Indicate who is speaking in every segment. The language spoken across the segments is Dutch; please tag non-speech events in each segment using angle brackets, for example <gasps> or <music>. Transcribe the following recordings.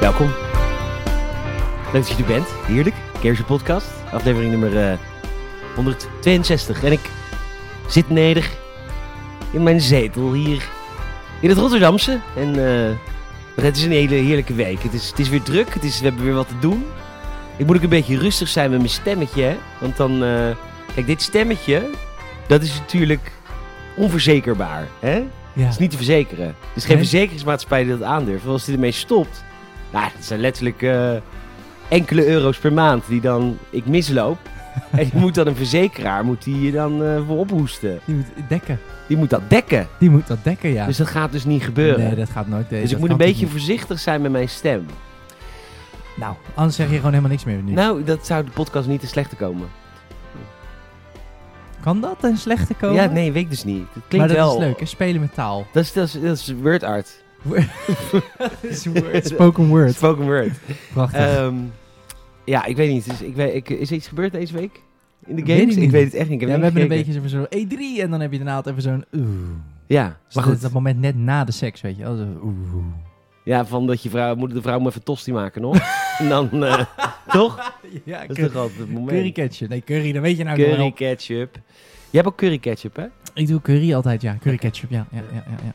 Speaker 1: Welkom. Leuk dat je er bent. Heerlijk. Kersje Podcast, aflevering nummer eh, 162. En ik zit neder in mijn zetel hier in het Rotterdamse. En eh, het is een hele heerlijke week. Het is, het is weer druk, het is, we hebben weer wat te doen. Ik moet ook een beetje rustig zijn met mijn stemmetje, hè? Want dan... eh, kijk, dit stemmetje, dat is natuurlijk onverzekerbaar, hè?
Speaker 2: Ja.
Speaker 1: Dat is niet te verzekeren. Er is geen
Speaker 2: Nee?
Speaker 1: verzekeringsmaatschappij die dat aandurft. Want als die ermee stopt, nou, dat zijn letterlijk eh, enkele euro's per maand die dan ik
Speaker 2: <laughs>
Speaker 1: misloop. en die moet dan een verzekeraar moet die je dan eh, voor ophoesten.
Speaker 2: Die moet dekken.
Speaker 1: Die moet dat dekken.
Speaker 2: Die moet dat dekken, ja.
Speaker 1: Dus dat gaat dus niet gebeuren.
Speaker 2: nee, dat gaat nooit. nee,
Speaker 1: dus ik
Speaker 2: dat
Speaker 1: moet een
Speaker 2: kan
Speaker 1: beetje
Speaker 2: toch
Speaker 1: voorzichtig zijn met mijn stem.
Speaker 2: niet. Nou, anders zeg je gewoon helemaal niks meer nu.
Speaker 1: Nou, dat zou de podcast niet te slecht komen.
Speaker 2: Kan dat een slechte komen?
Speaker 1: Ja, nee, weet ik dus niet. Het klinkt
Speaker 2: maar dat
Speaker 1: wel.
Speaker 2: is leuk, hè? Spelen
Speaker 1: <laughs>
Speaker 2: met taal.
Speaker 1: Dat is, dat is, dat is word art. word.
Speaker 2: <laughs> Spoken word.
Speaker 1: Spoken word.
Speaker 2: <laughs> Prachtig.
Speaker 1: Ehm, ja, ik weet niet. Dus ik weet, ik, is er iets gebeurd deze week? In de
Speaker 2: Weet
Speaker 1: games? ik,
Speaker 2: ik niet.
Speaker 1: weet het echt niet. Ik
Speaker 2: ja,
Speaker 1: heb
Speaker 2: we
Speaker 1: niet
Speaker 2: hebben een
Speaker 1: gekeken.
Speaker 2: beetje zo'n- zo'n E3 en dan heb je daarna altijd even zo'n oeh.
Speaker 1: Ja,
Speaker 2: Dus
Speaker 1: maar
Speaker 2: dat-
Speaker 1: goed.
Speaker 2: Dat moment net na de seks, weet je wel. Zo, oeh.
Speaker 1: Ja, van dat je vrouw, moet de vrouw maar even tosti maken
Speaker 2: <laughs>
Speaker 1: nog. en dan, eh, toch?
Speaker 2: Ja,
Speaker 1: Dat is toch altijd het
Speaker 2: curry
Speaker 1: moment.
Speaker 2: ketchup. Nee, curry, dan weet je nou
Speaker 1: Curry
Speaker 2: wel.
Speaker 1: ketchup. Je hebt ook curry ketchup, hè?
Speaker 2: Ik doe curry altijd, ja. Curry ketchup, ja. ja, ja, ja, ja.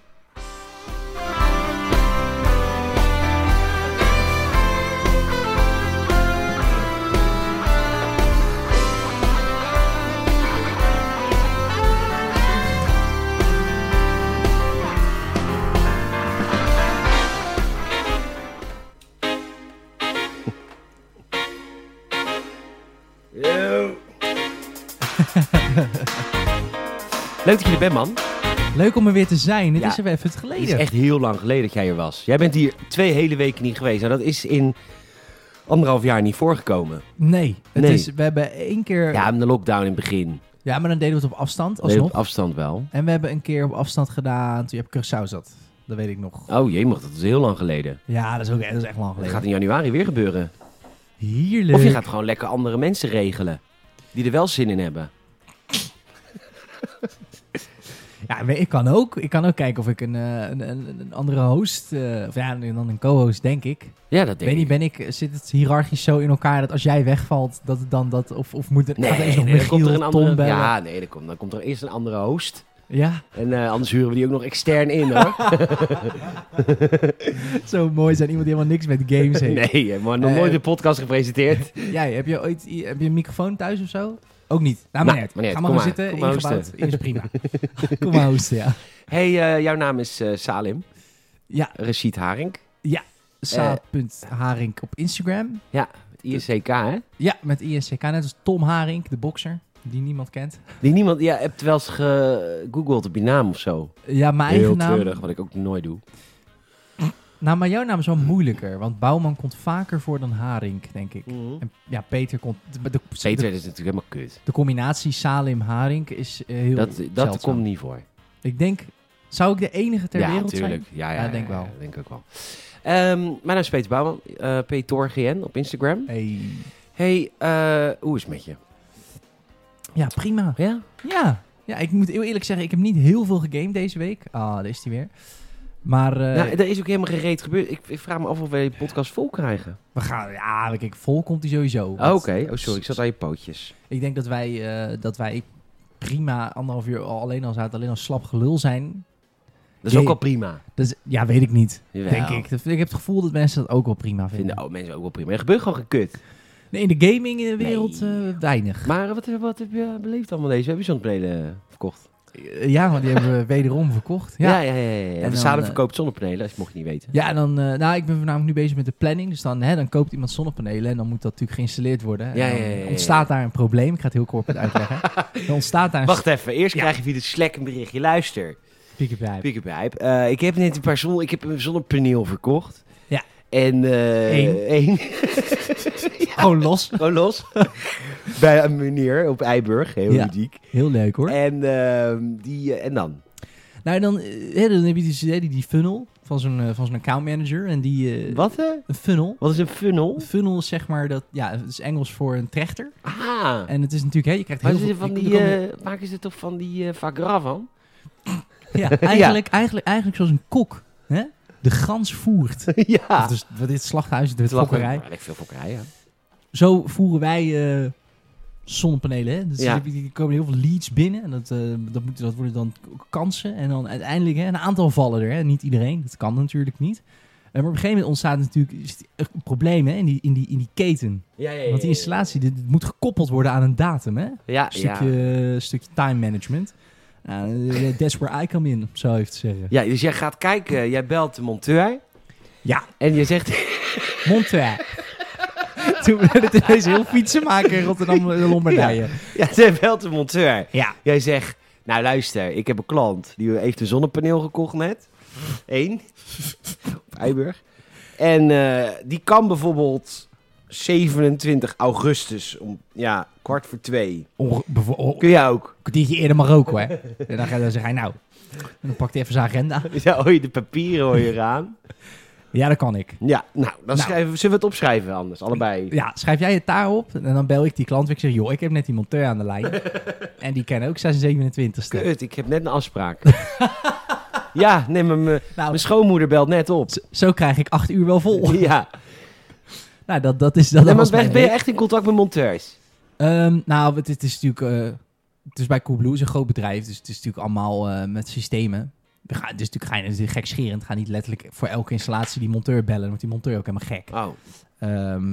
Speaker 1: <laughs> Leuk dat je er bent, man.
Speaker 2: Leuk om er weer te zijn. Het
Speaker 1: Ja.
Speaker 2: is er weer even
Speaker 1: Het
Speaker 2: het geleden.
Speaker 1: is echt heel lang geleden dat jij er was. Jij bent hier twee hele weken niet geweest. Nou, dat is in anderhalf jaar niet voorgekomen.
Speaker 2: Nee, het
Speaker 1: Nee.
Speaker 2: Is, we hebben één keer...
Speaker 1: Ja,
Speaker 2: Ja.
Speaker 1: in de lockdown in het begin.
Speaker 2: maar dan deden we het op afstand
Speaker 1: Alleen
Speaker 2: alsnog.
Speaker 1: Op afstand wel.
Speaker 2: En we hebben een keer op afstand gedaan toen je op Curaçao zat. Dat weet ik nog.
Speaker 1: Oh jee, mag dat is heel lang geleden.
Speaker 2: Ja, dat is, ook, dat is echt lang
Speaker 1: Dat
Speaker 2: geleden.
Speaker 1: gaat in januari weer gebeuren.
Speaker 2: Heerlijk.
Speaker 1: Of je gaat gewoon lekker andere mensen regelen. Die er wel zin in hebben.
Speaker 2: Ja, maar ik kan ook. Ik kan ook kijken of ik een, eh, een, een, een andere host... eh, of ja, en dan een co-host, denk ik.
Speaker 1: Ja, dat denk
Speaker 2: weet niet,
Speaker 1: ik.
Speaker 2: ben ik... Zit het hiërarchisch zo in elkaar dat als jij wegvalt, dat het dan dat... Of, of moet het...
Speaker 1: Nee,
Speaker 2: gaat er eerst
Speaker 1: nee,
Speaker 2: nog
Speaker 1: dan komt er
Speaker 2: Michiel,
Speaker 1: een
Speaker 2: Tom
Speaker 1: andere.
Speaker 2: bellen? Ja.
Speaker 1: Ja, nee, dan komt, dan komt er eerst een andere host. En eh, anders huren we die ook nog extern in hoor.
Speaker 2: <laughs> zo mooi zijn. Iemand die helemaal niks met games
Speaker 1: <laughs>
Speaker 2: heeft.
Speaker 1: Nee, eh, maar nog
Speaker 2: Eh,
Speaker 1: nooit een podcast gepresenteerd.
Speaker 2: Jij, heb je ooit heb je een microfoon thuis of zo? Ook niet. Nou,
Speaker 1: Nou,
Speaker 2: maar niet.
Speaker 1: maar niet.
Speaker 2: Ga
Speaker 1: Kom
Speaker 2: maar
Speaker 1: maar.
Speaker 2: gaan zitten.
Speaker 1: Kom maar
Speaker 2: ingebouwd.
Speaker 1: hosten.
Speaker 2: Is prima.
Speaker 1: <laughs>
Speaker 2: Kom maar hosten, ja.
Speaker 1: hey, eh, jouw naam is eh, Salim.
Speaker 2: Ja.
Speaker 1: Rashid Haring.
Speaker 2: Sa.Haring op Instagram.
Speaker 1: ISCK, hè?
Speaker 2: Ja, met ISCK. Net als Tom Haring, de bokser. Die niemand kent.
Speaker 1: Die niemand... Ja, hebt wel eens gegoogeld op je naam of zo.
Speaker 2: Ja, mijn
Speaker 1: Heel
Speaker 2: eigen naam.
Speaker 1: treurig, wat ik ook nooit doe.
Speaker 2: Nou, maar jouw naam is wel moeilijker. Want Bouwman komt vaker voor dan Haring, denk ik. En ja, Peter komt... De, de,
Speaker 1: Mhm. Peter
Speaker 2: de,
Speaker 1: is natuurlijk helemaal kut.
Speaker 2: de combinatie Salim-Haring is eh, heel
Speaker 1: Dat, dat
Speaker 2: zeldzaam.
Speaker 1: komt niet voor.
Speaker 2: Ik denk... Zou ik de enige ter
Speaker 1: ja,
Speaker 2: wereld
Speaker 1: tuurlijk.
Speaker 2: zijn?
Speaker 1: Ja, ja,
Speaker 2: Ja,
Speaker 1: ja,
Speaker 2: denk
Speaker 1: ja,
Speaker 2: wel.
Speaker 1: ja, denk ik ook wel. Ehm, mijn naam is Peter Bouwman, eh PTORGN op Instagram.
Speaker 2: Hey.
Speaker 1: Hey, eh, hoe is het met je?
Speaker 2: Ja, prima.
Speaker 1: Ja?
Speaker 2: Ja. ja, ik moet heel eerlijk zeggen, ik heb niet heel veel gegamed deze week. Ah, daar is hij weer. Maar eh,
Speaker 1: nou, er is ook helemaal geen reet gebeurd. Ik, ik vraag me af of wij de podcast vol krijgen.
Speaker 2: we gaan, ja, kijk, vol komt hij sowieso.
Speaker 1: Oh, Oké,
Speaker 2: Want
Speaker 1: oh sorry, ik zat aan je pootjes.
Speaker 2: Ik denk dat wij, eh, dat wij prima anderhalf uur al alleen al zaten, alleen al slap gelul zijn.
Speaker 1: Dat is
Speaker 2: Jee.
Speaker 1: ook al prima.
Speaker 2: Dus, ja, weet ik niet,
Speaker 1: Jawel.
Speaker 2: denk ik. Dat- Ik heb het gevoel dat mensen dat ook wel prima vinden.
Speaker 1: Vinden oude Oh, mensen ook wel prima. Er gebeurt gewoon geen kut.
Speaker 2: Nee, in de gaming in de wereld
Speaker 1: Nee.
Speaker 2: eh, weinig.
Speaker 1: Maar wat, wat heb je beleefd allemaal deze? Heb je zonnepanelen verkocht?
Speaker 2: Eh, Ja, want die hebben
Speaker 1: <laughs>
Speaker 2: we wederom verkocht.
Speaker 1: ja,
Speaker 2: Ja.
Speaker 1: ja. ja, ja.
Speaker 2: En
Speaker 1: En
Speaker 2: dan, eh,
Speaker 1: verkoopt zonnepanelen, als je mocht je niet
Speaker 2: <laughs>
Speaker 1: weten.
Speaker 2: Ja, en dan, eh, nou, ik ben voornamelijk nu bezig met de planning. Dus dan, hè, dan koopt iemand zonnepanelen en dan moet dat natuurlijk geïnstalleerd worden. En
Speaker 1: Ja,
Speaker 2: dan
Speaker 1: ja, ja, ja, ja.
Speaker 2: ontstaat daar een probleem. Ik ga het heel kort uitleggen.
Speaker 1: <laughs>
Speaker 2: dan ontstaat daar een
Speaker 1: Wacht even, eerst krijg je via de Slack een berichtje. Luister.
Speaker 2: speakerbedrijf.
Speaker 1: Pick up Hype. Eh, ik heb net een paar zon, ik heb een zonnepaneel verkocht.
Speaker 2: Ja.
Speaker 1: En eh
Speaker 2: Eén.
Speaker 1: één. <laughs>
Speaker 2: Gewoon los.
Speaker 1: Gewoon los.
Speaker 2: <laughs>
Speaker 1: Bij een meneer op Eiburg. Heel
Speaker 2: Ja.
Speaker 1: ludiek.
Speaker 2: Heel leuk hoor.
Speaker 1: En, ehm, die, eh, en dan?
Speaker 2: Nou, en dan, eh, hè, dan heb je dus, hè, die, die funnel van zo'n eh, van zo'n account manager. En die, eh,
Speaker 1: Wat? hè?
Speaker 2: Een funnel.
Speaker 1: Wat is een funnel?
Speaker 2: Een funnel is zeg maar dat, ja, het is Engels voor een trechter.
Speaker 1: Ah.
Speaker 2: En het is natuurlijk, hè, je krijgt
Speaker 1: Maar
Speaker 2: heel
Speaker 1: ze
Speaker 2: veel...
Speaker 1: van
Speaker 2: je-
Speaker 1: die,
Speaker 2: er komen-
Speaker 1: eh, maken ze toch
Speaker 2: <laughs>
Speaker 1: van die eh Vagra van? <laughs>
Speaker 2: ja, eigenlijk, Eigenlijk, eigenlijk zoals een kok. Hè? de gans voert. Of
Speaker 1: ja.
Speaker 2: dus, wat dit slachthuis, de fokkerij.
Speaker 1: Ja, veel fokkerij, ja.
Speaker 2: Zo voeren wij eh, zonnepanelen. Hè? Dus
Speaker 1: Ja.
Speaker 2: er- Er komen heel veel leads binnen. En dat, eh, dat, moeten, dat worden dan k- kansen. En dan uiteindelijk hè, een aantal vallen er. Hè? Niet iedereen, dat kan natuurlijk niet. Eh, maar op een gegeven moment ontstaat natuurlijk is het echt een probleem hè? In, die, in, die, in die keten.
Speaker 1: Ja, ja, ja,
Speaker 2: Want die
Speaker 1: ja.
Speaker 2: installatie dit, dit moet gekoppeld worden aan een datum. Hè?
Speaker 1: Ja,
Speaker 2: Een stukje, eh,
Speaker 1: ja.
Speaker 2: een stukje time management. Nou, eh, that's where I come in, om zo even te zeggen.
Speaker 1: Ja, dus jij gaat kijken, jij belt de monteur.
Speaker 2: Ja.
Speaker 1: En je zegt, <laughs>
Speaker 2: Monteur. <laughs> Toen we het ineens heel fietsen maken in Rotterdam en Lombardije.
Speaker 1: ja, jij belt de monteur.
Speaker 2: Ja.
Speaker 1: Jij zegt, nou luister, ik heb een klant. Die heeft een zonnepaneel gekocht net. Eén. Op Eiburg. En eh, die kan bijvoorbeeld 27 augustus om ja, kwart voor twee.
Speaker 2: Onge- bevo- o-
Speaker 1: Kun jij ook?
Speaker 2: een kwartiertje eerder Marokko, hè? En dan, ga- dan zeg hij nou. En dan pakt hij even zijn agenda.
Speaker 1: Ja, hoor je de papieren hoor je eraan.
Speaker 2: Ja, dat kan ik.
Speaker 1: Ja, nou, dan
Speaker 2: Nou.
Speaker 1: Schrijven, zullen we het opschrijven anders, allebei.
Speaker 2: Ja, schrijf jij het daar op en dan bel ik die klant. weer. Ik zeg, joh, ik heb net die monteur aan de lijn. En die kennen ook 26e.
Speaker 1: Kut, ik heb net een afspraak. <laughs> ja, nee, maar mijn
Speaker 2: Nou,
Speaker 1: mijn schoonmoeder belt net op.
Speaker 2: zo- zo krijg ik acht uur wel vol.
Speaker 1: Ja,
Speaker 2: Nou, dat, dat is... Dat
Speaker 1: nee, maar
Speaker 2: was
Speaker 1: ben,
Speaker 2: mijn
Speaker 1: ben je
Speaker 2: week.
Speaker 1: echt in contact met monteurs?
Speaker 2: Ehm, nou, het, het is natuurlijk... eh, het is bij Coolblue, het is een groot bedrijf. Dus het is natuurlijk allemaal eh, met systemen. We gaan, het is natuurlijk gein- het is gekscherend. Ga niet letterlijk voor elke installatie die monteur bellen. Dan wordt die monteur ook helemaal gek.
Speaker 1: Oh,
Speaker 2: Ehm,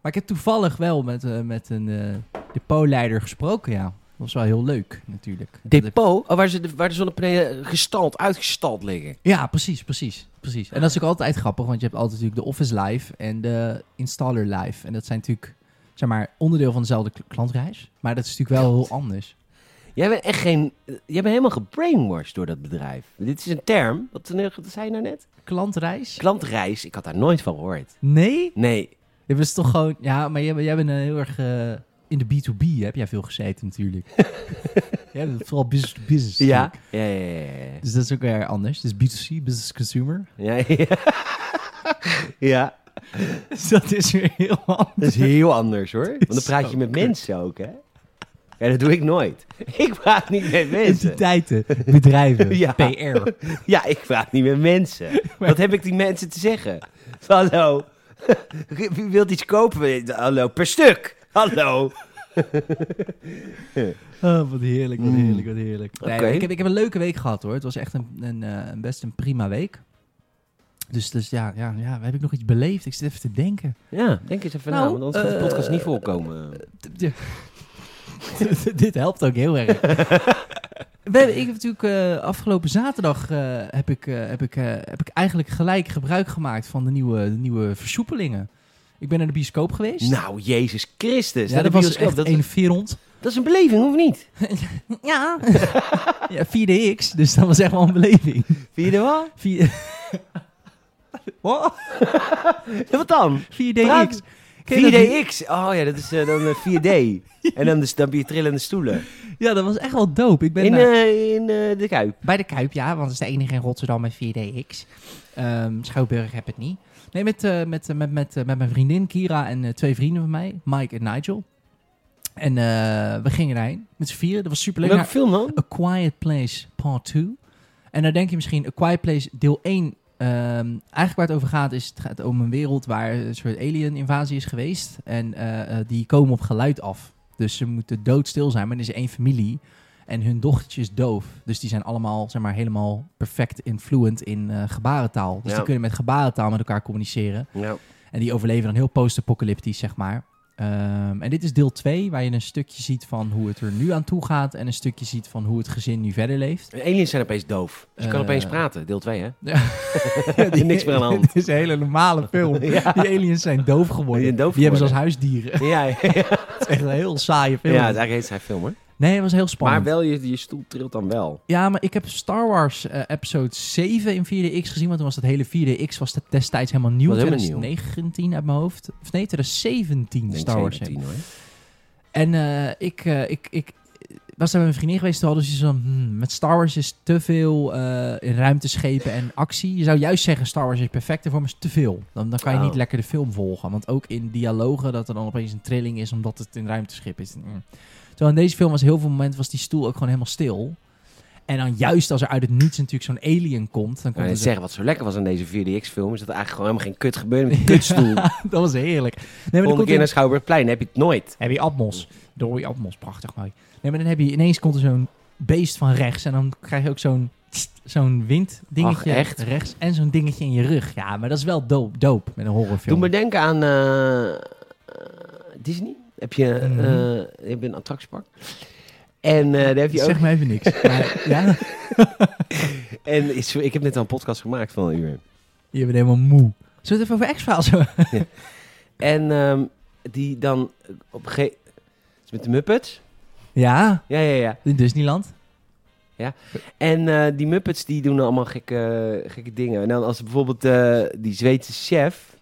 Speaker 2: maar ik heb toevallig wel met, eh, met een eh depotleider gesproken, ja. Dat was wel heel leuk, natuurlijk.
Speaker 1: depot? Oh, waar, ze de, waar de zonnepanelen eh, gestald, uitgestald liggen.
Speaker 2: Ja, precies, precies, precies. En dat is ook altijd grappig, want je hebt altijd natuurlijk de Office Live en de Installer Live. En dat zijn natuurlijk, zeg maar, onderdeel van dezelfde kl- klantreis. Maar dat is natuurlijk wel heel anders.
Speaker 1: Jij bent echt geen... eh, Jij bent helemaal gebrainwashed door dat bedrijf. Dit is een term. Wat, wat zei je nou net?
Speaker 2: Klantreis?
Speaker 1: Klantreis. Ik had daar nooit van gehoord.
Speaker 2: Nee?
Speaker 1: Nee.
Speaker 2: Je bent toch gewoon, ja, maar jij, bent- jij bent eh, heel erg... eh, in de B2B heb jij veel gezeten natuurlijk. jij bent vooral business to business.
Speaker 1: Ja?
Speaker 2: natuurlijk.
Speaker 1: Ja, ja, ja.
Speaker 2: Dus dat is ook weer anders. Dus B2C, business to consumer.
Speaker 1: Ja, ja. ja. ja.
Speaker 2: Dus <laughs> dat is weer heel anders.
Speaker 1: <laughs> Dat is heel anders hoor. Want dan
Speaker 2: is
Speaker 1: praat je
Speaker 2: zo
Speaker 1: met
Speaker 2: kut.
Speaker 1: mensen ook, hè? Ja, dat doe ik nooit. <laughs> Ik praat niet met mensen.
Speaker 2: Entiteiten,
Speaker 1: <laughs>
Speaker 2: bedrijven,
Speaker 1: Ja.
Speaker 2: PR.
Speaker 1: Ja, ik praat niet met <laughs> mensen. Wat heb ik die mensen te zeggen? Hallo. <laughs> Wie wilt iets kopen? Hallo, per stuk. Hallo.
Speaker 2: Oh, wat heerlijk, wat heerlijk, wat heerlijk. Nee,
Speaker 1: Mm. Oké.
Speaker 2: ik, heb, ik heb een leuke week gehad hoor. Het was echt een, een, eh, een best een prima week. Dus, dus ja, ja, ja, heb ik nog iets beleefd? Ik zit even te denken.
Speaker 1: Ja, denk eens even
Speaker 2: Nou,
Speaker 1: na, want anders gaat de
Speaker 2: eh,
Speaker 1: podcast niet volkomen.
Speaker 2: D- d- <laughs> Dit helpt ook
Speaker 1: <laughs>
Speaker 2: heel erg. We hebben- ik heb natuurlijk eh, afgelopen zaterdag eh, heb, ik, eh, heb, ik, eh, heb ik eigenlijk gelijk gebruik gemaakt van de nieuwe, de nieuwe versoepelingen. Ik ben naar de bioscoop geweest.
Speaker 1: nou, Jezus Christus.
Speaker 2: ja,
Speaker 1: naar
Speaker 2: dat
Speaker 1: de
Speaker 2: was
Speaker 1: bioscoop,
Speaker 2: echt
Speaker 1: dat,
Speaker 2: een verond.
Speaker 1: dat is een beleving, of niet?
Speaker 2: Ja. ja, 4DX, dus dat was echt wel een beleving.
Speaker 1: Vind je er wel?
Speaker 2: Vier... Wat?
Speaker 1: Ja, <laughs> wat <laughs> dan?
Speaker 2: 4DX. Ken je dat niet?
Speaker 1: 4DX. Oh ja, dat is eh, dan eh, <laughs> 4D. en dan, de, dan heb je trillende stoelen.
Speaker 2: Ja, dat was echt wel dope. Ik ben
Speaker 1: In,
Speaker 2: naar-
Speaker 1: eh, in eh, de Kuip.
Speaker 2: bij de Kuip, ja, want het is de enige in Rotterdam met 4DX. Ehm Schouwburg heb het niet. Nee, met, eh, met, eh, met, met, eh, met mijn vriendin Kira en eh, twee vrienden van mij, Mike en Nigel. En eh, we gingen daarheen met z'n vieren. Dat was super leuk.
Speaker 1: Welke film dan?
Speaker 2: A Quiet Place Part 2. En dan denk je misschien, A Quiet Place deel 1. ehm, eigenlijk waar het over gaat, is het gaat om een wereld waar een soort alien invasie is geweest. En eh, eh, die komen op geluid af. Dus ze moeten doodstil zijn, maar er is één familie. En hun dochtertje is doof. Dus die zijn allemaal zeg maar, helemaal perfect en fluent in eh, gebarentaal. Dus
Speaker 1: Ja.
Speaker 2: die kunnen met gebarentaal met elkaar communiceren.
Speaker 1: Ja.
Speaker 2: En die overleven dan heel post-apocalyptisch, zeg maar. Ehm, en dit is deel 2, waar je een stukje ziet van hoe het er nu aan toe gaat. En een stukje ziet van hoe het gezin nu verder leeft.
Speaker 1: Aliens zijn opeens doof. Dus je kan
Speaker 2: Eh.
Speaker 1: opeens praten. Deel 2, hè? <laughs>
Speaker 2: Ja,
Speaker 1: die- Niks meer aan de
Speaker 2: <laughs>
Speaker 1: hand.
Speaker 2: Het is een hele normale
Speaker 1: <laughs>
Speaker 2: film. Die aliens zijn doof geworden.
Speaker 1: Die zijn doof
Speaker 2: die hebben ze als
Speaker 1: geworden.
Speaker 2: huisdieren.
Speaker 1: Ja, ja, ja.
Speaker 2: Het is echt een heel saaie film.
Speaker 1: Ja, het is eigenlijk heet hij <laughs> film hoor.
Speaker 2: nee, het was heel spannend.
Speaker 1: Maar wel, je, je stoel trilt dan wel.
Speaker 2: Ja, maar ik heb Star Wars eh, episode 7 in 4DX gezien. Want toen was dat hele 4DX was dat destijds helemaal nieuw.
Speaker 1: Was helemaal nieuw.
Speaker 2: 2019 uit mijn hoofd. Of nee, 2017
Speaker 1: Denk
Speaker 2: Star Wars
Speaker 1: 17 hoor.
Speaker 2: En eh, ik, eh, ik, ik was daar met mijn vriendin geweest. Toen hadden ze zoiets van, hmm, met Star Wars is te veel eh ruimteschepen en actie. Je zou juist zeggen, Star Wars is perfect en voor me is te veel. Dan, dan kan je
Speaker 1: Oh.
Speaker 2: niet lekker de film volgen. Want ook in dialogen dat er dan opeens een Hmm. trilling is omdat het een ruimteschip is. Mm. Terwijl in deze film was heel veel moment was die stoel ook gewoon helemaal stil. En dan juist als er uit het niets natuurlijk zo'n alien komt, dan komt
Speaker 1: Nou,
Speaker 2: er
Speaker 1: ik
Speaker 2: zo-
Speaker 1: zeggen, wat zo lekker was aan deze 4DX-film, is dat er eigenlijk gewoon helemaal geen kut gebeurde met een <laughs> kutstoel.
Speaker 2: <laughs> dat was heerlijk. Nee, maar dan
Speaker 1: Volgende
Speaker 2: komt
Speaker 1: keer
Speaker 2: er-
Speaker 1: naar Schouwburgplein heb je het nooit.
Speaker 2: heb je Atmos. Door je Atmos, prachtig mooi. Nee, maar dan heb je ineens komt er zo'n beest van rechts en dan krijg je ook zo'n tst, zo'n winddingetje
Speaker 1: Ach, echt?
Speaker 2: rechts en zo'n dingetje in je rug. Ja, maar dat is wel dope, dope met een
Speaker 1: Doe
Speaker 2: horrorfilm.
Speaker 1: me denken aan eh, eh, Disney. Heb je, eh,
Speaker 2: Mhm.
Speaker 1: eh, heb je een attractiepark. En eh, daar heb je ook...
Speaker 2: <laughs> zeg maar even niks. Maar, ja, <laughs>
Speaker 1: En is- ik heb net al een podcast gemaakt van een uur.
Speaker 2: je bent helemaal moe. Zullen we het even over X-Files hebben? <laughs>
Speaker 1: En ehm, die dan op een gegeven met de Muppets.
Speaker 2: Ja,
Speaker 1: Ja, ja, ja.
Speaker 2: in Disneyland.
Speaker 1: En eh, die Muppets die doen allemaal gekke, gekke dingen. En dan als bijvoorbeeld eh, die Zweedse chef.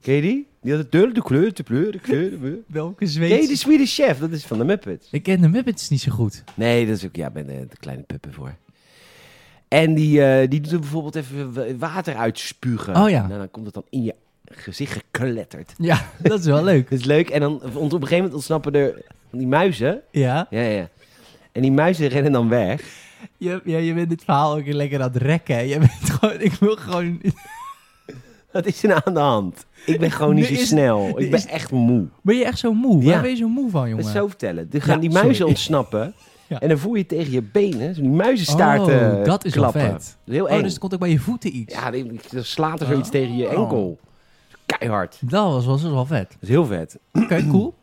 Speaker 1: Ken je die? Die had het deur, de kleur, de kleur, de kleur. De kleur.
Speaker 2: Welke
Speaker 1: Nee, de
Speaker 2: Zweedse...
Speaker 1: Swedish chef, dat is van de Muppets.
Speaker 2: Ik ken de Muppets niet zo goed.
Speaker 1: Nee, dat is ook, ja, ik ben er te kleine puppen voor. En die, eh, die doet er bijvoorbeeld even wa- water uitspugen.
Speaker 2: Oh ja.
Speaker 1: Nou, dan komt het dan in je gezicht gekletterd.
Speaker 2: Ja, <laughs> dat is wel leuk.
Speaker 1: Dat is leuk. En dan ont- op een gegeven moment ontsnappen er die muizen.
Speaker 2: Ja.
Speaker 1: Ja, ja, ja. En die muizen rennen dan weg.
Speaker 2: Je, ja, je bent dit verhaal ook lekker aan het rekken. hè. Je bent <laughs> gewoon... Ik wil gewoon...
Speaker 1: Wat is er nou aan de hand? Ik ben gewoon niet
Speaker 2: Er
Speaker 1: zo
Speaker 2: is-
Speaker 1: snel.
Speaker 2: er
Speaker 1: Ik
Speaker 2: is-
Speaker 1: ben echt moe.
Speaker 2: Ben je echt zo moe?
Speaker 1: Ja.
Speaker 2: Waar ben je zo moe van,
Speaker 1: Dat
Speaker 2: jongen?
Speaker 1: is zo vertellen. Dan gaan
Speaker 2: Ja,
Speaker 1: die muizen
Speaker 2: sorry.
Speaker 1: ontsnappen.
Speaker 2: <laughs> Ja.
Speaker 1: En dan voel je het tegen je benen. Zo Die muizenstaarten
Speaker 2: Oh, dat is wel
Speaker 1: klappen.
Speaker 2: vet.
Speaker 1: Dat is Heel
Speaker 2: Oh,
Speaker 1: eng.
Speaker 2: dus het komt ook bij je voeten iets.
Speaker 1: Ja, die- dan slaat er zoiets
Speaker 2: Oh.
Speaker 1: tegen je enkel. Keihard.
Speaker 2: Dat was, was dus wel vet.
Speaker 1: <clears throat> Dat is heel vet.
Speaker 2: Oké, cool.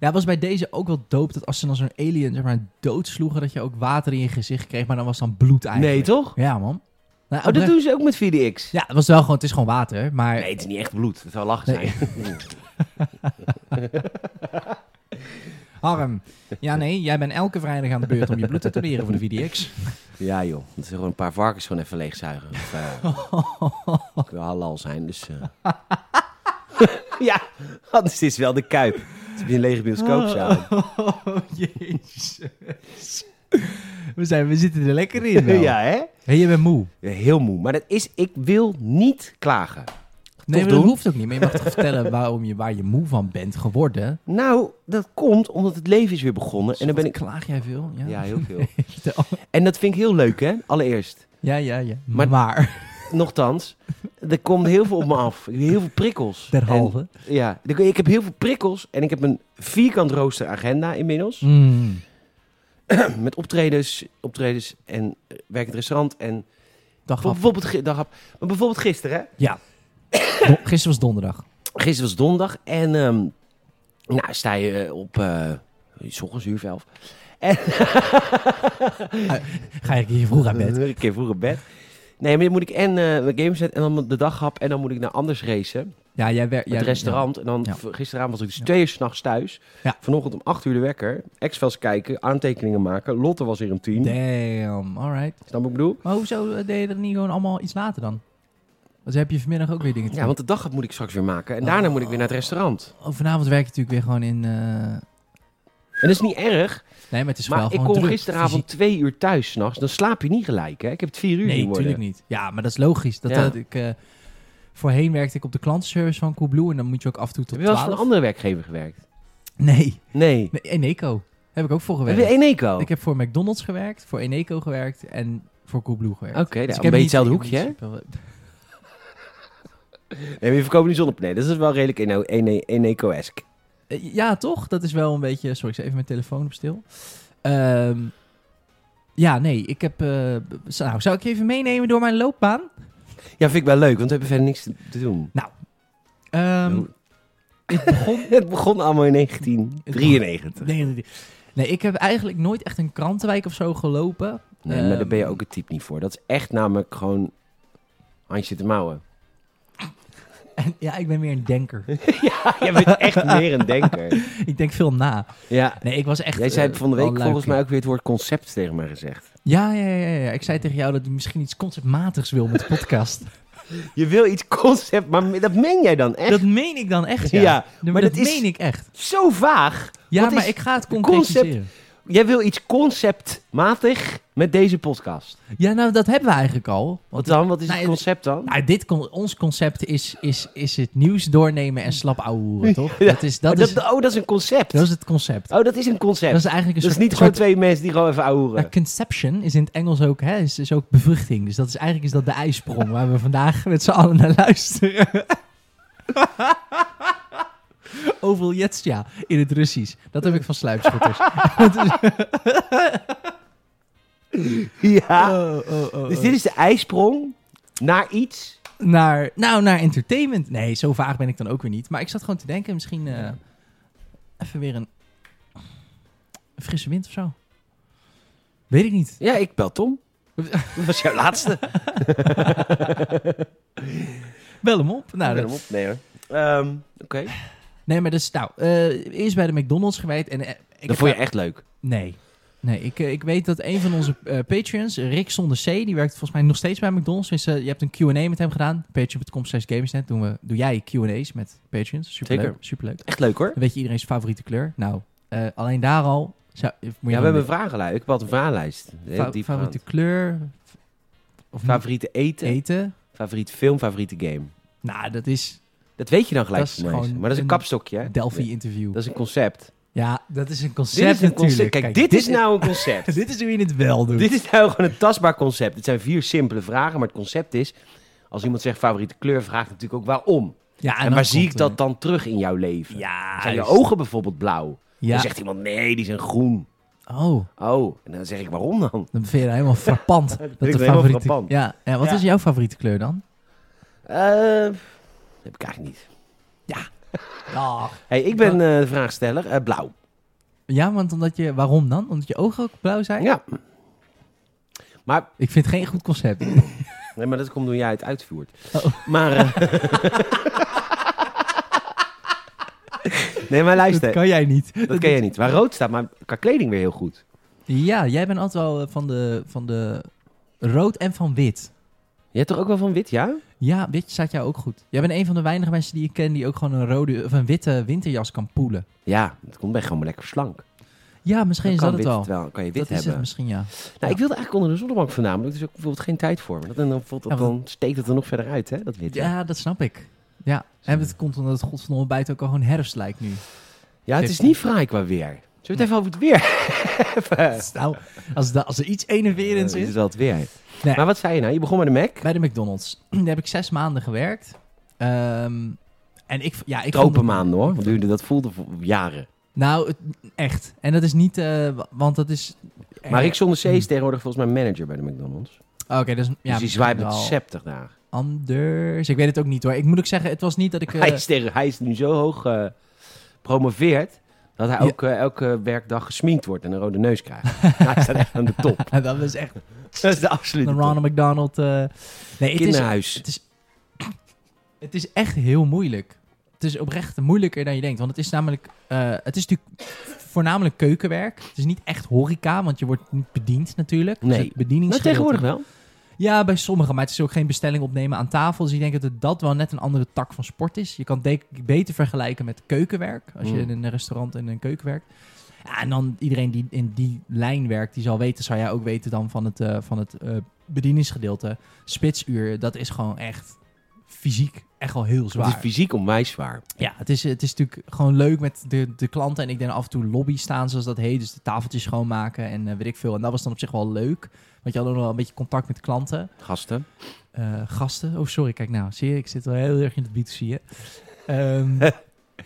Speaker 2: Ja, was bij deze ook wel dope dat als ze dan zo'n alien zeg maar, doodsloegen, dat je ook water in je gezicht kreeg, maar dan was dan bloed eigenlijk.
Speaker 1: Nee, toch?
Speaker 2: Ja, man. Nou,
Speaker 1: Oh, dat
Speaker 2: oprecht-
Speaker 1: doen ze ook met 4DX.
Speaker 2: Ja, het was wel gewoon, het is gewoon water, maar...
Speaker 1: Nee, het is niet echt bloed. Het zou lachen
Speaker 2: Nee.
Speaker 1: zijn.
Speaker 2: Harm, ja nee, jij bent elke vrijdag aan de beurt om je bloed te toneren voor de
Speaker 1: <laughs>
Speaker 2: VDX.
Speaker 1: Ja joh, het is gewoon een paar varkens gewoon even leegzuigen. Of, <laughs> eh, ik wil halal zijn, dus... eh. <laughs> ja, anders is het wel de Kuip. Het is weer een lege <laughs> bioscoopzaal.
Speaker 2: Oh, jezus. We, zijn, we zitten er lekker in wel.
Speaker 1: ja, hè?
Speaker 2: Hey, je bent moe.
Speaker 1: Ja, heel moe. Maar dat is, ik wil niet klagen.
Speaker 2: Nee, maar dat
Speaker 1: doen?
Speaker 2: hoeft ook niet. Maar je mag toch vertellen waarom je, waar je moe van bent geworden?
Speaker 1: Nou, dat komt omdat het leven is weer begonnen. En dan ben ik...
Speaker 2: Klaag jij veel? Ja, <laughs>
Speaker 1: Ja, heel veel. <laughs>
Speaker 2: Vertel.
Speaker 1: En dat vind ik heel leuk, hè? Allereerst.
Speaker 2: ja, ja. ja. Maar, <laughs>
Speaker 1: Maar- Nochtans, er komt heel veel op me af. Ik heb Heel veel prikkels. En-
Speaker 2: derhalve.
Speaker 1: Ja, ik- ik heb heel veel prikkels. En ik heb een vierkant rooster agenda inmiddels.
Speaker 2: Mm.
Speaker 1: Met optredens, optredens en eh, werkend restaurant. En
Speaker 2: Dag af.
Speaker 1: bijvoorbeeld, gi- dag, hap. maar bijvoorbeeld gisteren. Hè?
Speaker 2: Ja. <coughs> Don- Gisteren was donderdag.
Speaker 1: Gisteren was donderdag. En ehm, nou, sta je eh, op... eh, s ochtends uur of elf.
Speaker 2: Ga ik hier vroeg aan
Speaker 1: <laughs>
Speaker 2: bed.
Speaker 1: Een keer vroeg op bed. Nee, maar dan moet ik en eh mijn game set en dan de daghap. En dan moet ik naar anders racen.
Speaker 2: Ja, jij werkt.
Speaker 1: Het restaurant. En dan
Speaker 2: Ja.
Speaker 1: v- gisteravond was ik dus
Speaker 2: Ja.
Speaker 1: twee uur s'nachts thuis.
Speaker 2: Ja.
Speaker 1: Vanochtend om acht uur de wekker. X-Files kijken, aantekeningen maken. Lotte was weer een team.
Speaker 2: Damn, alright.
Speaker 1: Snap wat ik bedoel?
Speaker 2: Maar hoezo eh, deed je er niet gewoon allemaal iets later dan? Dus heb je vanmiddag ook weer dingen te
Speaker 1: Ja,
Speaker 2: doen.
Speaker 1: want de daghap moet ik straks weer maken.
Speaker 2: Ah.
Speaker 1: En daarna moet ik weer naar het restaurant.
Speaker 2: Oh, vanavond werk je natuurlijk weer gewoon in... eh,
Speaker 1: En dat is niet erg.
Speaker 2: Nee, maar het is wel
Speaker 1: Maar ik
Speaker 2: gewoon
Speaker 1: kom
Speaker 2: druk.
Speaker 1: gisteravond
Speaker 2: Fysiek-
Speaker 1: twee uur thuis s'nachts. Dan slaap je niet gelijk, hè? Ik heb het vier uur
Speaker 2: Nee,
Speaker 1: zien worden.
Speaker 2: natuurlijk niet. Ja, maar dat is logisch. Dat,
Speaker 1: Ja.
Speaker 2: dat ik, eh, voorheen werkte ik op de klantenservice van Coolblue. En dan moet je ook af en toe tot
Speaker 1: Heb je wel eens
Speaker 2: 12.
Speaker 1: voor een andere werkgever gewerkt?
Speaker 2: Nee.
Speaker 1: Nee.
Speaker 2: nee. Eneco. Heb ik ook voor
Speaker 1: Heb
Speaker 2: gewerkt.
Speaker 1: je Eneco?
Speaker 2: Ik heb voor McDonald's gewerkt, voor Eneco gewerkt en voor Coolblue gewerkt.
Speaker 1: Oké, nou,
Speaker 2: Dus ik
Speaker 1: een
Speaker 2: heb
Speaker 1: beetje
Speaker 2: niet-
Speaker 1: hetzelfde
Speaker 2: ik heb
Speaker 1: hoekje, hè?
Speaker 2: niet super-
Speaker 1: Nee, maar je verkoopt niet zonnepanelen. Dat is wel redelijk Eno- Ene- Eneco-esk.
Speaker 2: Eh, Ja, toch? Dat is wel een beetje... Sorry, ik zet even mijn telefoon op stil. Ehm, ja, nee, ik heb... eh, b- z- nou, zou ik je even meenemen door mijn loopbaan?
Speaker 1: Ja, vind ik wel leuk, want we hebben verder niks te te doen.
Speaker 2: Ehm,
Speaker 1: Hoe-
Speaker 2: ik begon...
Speaker 1: <laughs> Het begon allemaal in 1993.
Speaker 2: <laughs> Nee, nee, nee. Nee, ik heb eigenlijk nooit echt een krantenwijk of zo gelopen.
Speaker 1: Nee, maar daar ben
Speaker 2: Ehm.
Speaker 1: je ook het type niet voor. Dat is echt namelijk gewoon handje te
Speaker 2: <laughs>
Speaker 1: mouwen. <laughs>
Speaker 2: En, ja, ik ben meer een denker.
Speaker 1: ja, jij bent echt meer een
Speaker 2: <laughs>
Speaker 1: denker.
Speaker 2: ik denk veel na.
Speaker 1: Ja.
Speaker 2: Nee, ik was echt...
Speaker 1: Jij zei
Speaker 2: eh,
Speaker 1: van de
Speaker 2: wel
Speaker 1: week volgens
Speaker 2: luikie.
Speaker 1: mij ook weer het woord concept tegen me gezegd.
Speaker 2: Ja, ja, ja, ja. Ik zei tegen jou dat je misschien iets conceptmatigs wil met de podcast.
Speaker 1: Je wil iets concept, maar me- dat meen jij dan echt?
Speaker 2: dat meen ik dan echt, ja.
Speaker 1: Ja,
Speaker 2: maar
Speaker 1: maar
Speaker 2: dat,
Speaker 1: dat is-
Speaker 2: meen ik echt.
Speaker 1: Zo vaag.
Speaker 2: Ja,
Speaker 1: Wat
Speaker 2: maar
Speaker 1: is
Speaker 2: ik ga het
Speaker 1: concept?
Speaker 2: concretiseren.
Speaker 1: jij wil iets conceptmatig met deze podcast.
Speaker 2: Ja, nou, dat hebben we eigenlijk al.
Speaker 1: Wat
Speaker 2: Want
Speaker 1: dan? Wat is
Speaker 2: nou,
Speaker 1: het concept dan?
Speaker 2: nou, dit con- ons concept is, is, is het nieuws doornemen en slap ouwehoeren, toch?
Speaker 1: Ja.
Speaker 2: Dat, is, dat,
Speaker 1: dat,
Speaker 2: is,
Speaker 1: oh, dat is een concept.
Speaker 2: dat is het concept.
Speaker 1: Oh, dat is een concept.
Speaker 2: Dat
Speaker 1: Dat
Speaker 2: is eigenlijk een
Speaker 1: is,
Speaker 2: soort,
Speaker 1: niet gewoon
Speaker 2: soort
Speaker 1: twee mensen die gewoon even ouwen.
Speaker 2: Nou, conception is in het Engels ook, hè, is, is ook bevruchting. Dus dat is eigenlijk is dat de ijsprong waar we vandaag met z'n allen naar luisteren. <laughs> Oveljetsja in het Russisch. Dat heb ik van sluipschutters.
Speaker 1: <laughs> <laughs> Ja.
Speaker 2: Oh, oh, oh,
Speaker 1: Dus
Speaker 2: oh.
Speaker 1: dit is de ijsprong naar iets.
Speaker 2: Naar, nou, naar entertainment. Nee, zo vaag ben ik dan ook weer niet. Maar ik zat gewoon te denken, misschien eh, even weer een, een frisse wind of zo. Weet ik niet.
Speaker 1: Ja, ik bel
Speaker 2: <laughs>
Speaker 1: Tom. Dat was jouw laatste.
Speaker 2: Bel hem op. Nou,
Speaker 1: Ik ben hem
Speaker 2: dat,
Speaker 1: op. Nee hoor. Ehm, Oké.
Speaker 2: nee, maar dat is, nou, eh, eerst bij de McDonald's gewijd. En, eh, ik heb
Speaker 1: Dat vond je echt leuk.
Speaker 2: Nee. Nee, ik, eh, ik weet dat een van onze eh, Patreons, Rick zonder C, die werkt volgens mij nog steeds bij McDonald's. Dus, eh, je hebt een Q&A met hem gedaan. Patreon.com slash Gamersnet. Doen we, doe jij Q&A's met Patreons. Superleuk.
Speaker 1: Zeker.
Speaker 2: Superleuk.
Speaker 1: Echt leuk hoor.
Speaker 2: Dan weet je iedereen's favoriete kleur. Nou, eh, alleen daar al. Zou, moet je
Speaker 1: Ja, we
Speaker 2: dan-
Speaker 1: hebben een vragenlijst. Ik had een vragenlijst. Heel
Speaker 2: fa-
Speaker 1: diep
Speaker 2: favoriete
Speaker 1: gaand.
Speaker 2: kleur. Of
Speaker 1: favoriete eten,
Speaker 2: eten.
Speaker 1: favoriete film, favoriete game.
Speaker 2: Nou, dat is
Speaker 1: Dat weet je dan gelijk.
Speaker 2: Dat is
Speaker 1: van mij.
Speaker 2: gewoon
Speaker 1: maar dat is een
Speaker 2: een
Speaker 1: kapstokje. hè?
Speaker 2: Delphi
Speaker 1: Ja,
Speaker 2: interview.
Speaker 1: Dat is een concept.
Speaker 2: Ja, dat is een
Speaker 1: Dit
Speaker 2: concept
Speaker 1: is een concept.
Speaker 2: natuurlijk.
Speaker 1: Kijk, dit, is nou een concept.
Speaker 2: <laughs> Dit is hoe je het wel doet.
Speaker 1: Dit is nou gewoon een tastbaar concept. Het zijn vier simpele vragen, maar het concept is... als iemand zegt favoriete kleur, vraagt natuurlijk ook waarom.
Speaker 2: ja,
Speaker 1: En,
Speaker 2: dan
Speaker 1: waar zie
Speaker 2: komt
Speaker 1: ik dat
Speaker 2: er-
Speaker 1: dan terug in jouw leven?
Speaker 2: Ja.
Speaker 1: Zijn je
Speaker 2: juist.
Speaker 1: ogen bijvoorbeeld blauw? Dan
Speaker 2: Ja.
Speaker 1: zegt iemand, nee, die zijn groen.
Speaker 2: Oh.
Speaker 1: Oh, en dan zeg ik, waarom dan?
Speaker 2: Dan vind je dat
Speaker 1: <laughs>
Speaker 2: helemaal frappant. dat
Speaker 1: vind ik
Speaker 2: de
Speaker 1: helemaal
Speaker 2: favoriete...
Speaker 1: frappant.
Speaker 2: Ja, en wat
Speaker 1: Ja.
Speaker 2: is jouw favoriete kleur dan?
Speaker 1: Eh, dat heb ik eigenlijk niet.
Speaker 2: <laughs>
Speaker 1: hey, ik ben eh, de vraagsteller. eh, blauw.
Speaker 2: Ja, want omdat je... Waarom dan? Omdat je ogen ook blauw zijn?
Speaker 1: Ja. Maar,
Speaker 2: Ik vind het geen goed concept.
Speaker 1: nee, maar dat komt door jij het uitvoert.
Speaker 2: Oh.
Speaker 1: Maar... eh, nee, maar luister.
Speaker 2: dat kan jij niet.
Speaker 1: Dat ken jij niet. Waar rood staat, maar qua kleding weer heel goed.
Speaker 2: Ja, jij bent altijd wel eh, van de, van de rood en van wit.
Speaker 1: Je hebt toch ook wel van wit, ja?
Speaker 2: Ja, wit staat jou ook goed. Jij bent een van de weinige mensen die ik ken die ook gewoon een, rode, of een witte winterjas kan poelen.
Speaker 1: Ja, dat komt bij gewoon lekker slank.
Speaker 2: Ja, misschien is
Speaker 1: Dan
Speaker 2: dat
Speaker 1: kan
Speaker 2: het
Speaker 1: wit,
Speaker 2: wel.
Speaker 1: Terwijl, kan je wit
Speaker 2: Dat is het
Speaker 1: hebben.
Speaker 2: misschien, ja.
Speaker 1: nou, ik wilde eigenlijk onder de zonnebank vandaan, maar er is ook bijvoorbeeld geen tijd voor. Want dan, dan, voelt dat,
Speaker 2: Ja, want-
Speaker 1: dan steekt het er nog verder uit, hè, dat wit.
Speaker 2: Ja, dat snap ik. Ja, en het komt omdat het godverdomme bijt ook al gewoon herfst lijkt nu.
Speaker 1: Ja, het is niet fraai qua weer. Zullen we het even over het weer hebben?
Speaker 2: Nou, als, da- als er iets enerverends
Speaker 1: dit
Speaker 2: is.
Speaker 1: is wel het weer. Maar wat zei je nou? Je begon met de Mac.
Speaker 2: Bij de McDonald's. <clears throat> Daar heb ik zes maanden gewerkt. Ehm, en ik, v- ja, ik vond het-
Speaker 1: Tropenmaanden hoor. Dat duurde- Dat voelde voor jaren.
Speaker 2: Nou, het- echt. En dat is niet, eh, wa- want dat is...
Speaker 1: Maar
Speaker 2: Eh,
Speaker 1: ik zonder C is tegenwoordig volgens mij manager bij de McDonald's.
Speaker 2: Oké, dat is... hmm. Ja,
Speaker 1: dus die zwaait met 70 daar.
Speaker 2: Anders. Ik weet het ook niet hoor. Ik moet ook zeggen, het was niet dat ik... eh,
Speaker 1: Hij, is tegen, hij is nu zo hoog eh, gepromoveerd dat hij
Speaker 2: Ja.
Speaker 1: ook eh, elke werkdag gesminkt wordt en een rode neus
Speaker 2: <laughs>
Speaker 1: krijgt. Nou, hij staat echt aan de top.
Speaker 2: dat
Speaker 1: <laughs>
Speaker 2: was echt
Speaker 1: Dat is de absolute
Speaker 2: een
Speaker 1: top.
Speaker 2: Ronald McDonald. eh. Nee, het is,
Speaker 1: Kinderhuis.
Speaker 2: het is... Het is echt heel moeilijk. Het is oprecht moeilijker dan je denkt. Want het is namelijk... eh, het is natuurlijk voornamelijk keukenwerk. Het is niet echt horeca, want je wordt niet bediend natuurlijk. Dus
Speaker 1: Nee.
Speaker 2: het bedieningsgedeelte-
Speaker 1: Nou, tegenwoordig wel.
Speaker 2: Ja, bij sommigen. Maar het is ook geen bestelling opnemen aan tafel. Dus ik denk dat het dat wel net een andere tak van sport is. Je kan het de- beter vergelijken met keukenwerk. Als je
Speaker 1: Mm.
Speaker 2: in een restaurant en een keuken werkt. Ja, en dan iedereen die in die lijn werkt, die zal weten, zou jij ook weten dan van het, eh, van het eh, bedieningsgedeelte. Spitsuur, dat is gewoon echt fysiek echt wel heel
Speaker 1: Het is
Speaker 2: zwaar.
Speaker 1: fysiek onwijs zwaar.
Speaker 2: Ja, het is, het is natuurlijk gewoon leuk met de, de klanten. En ik denk af en toe lobby staan, zoals dat heet. Dus de tafeltjes schoonmaken en eh, weet ik veel. En dat was dan op zich wel leuk. Want je had ook nog wel een beetje contact met klanten
Speaker 1: Gasten.
Speaker 2: eh, gasten. Oh, sorry, kijk nou. Zie je, ik zit wel heel erg in het B2C, hè.
Speaker 1: <laughs>
Speaker 2: Ehm,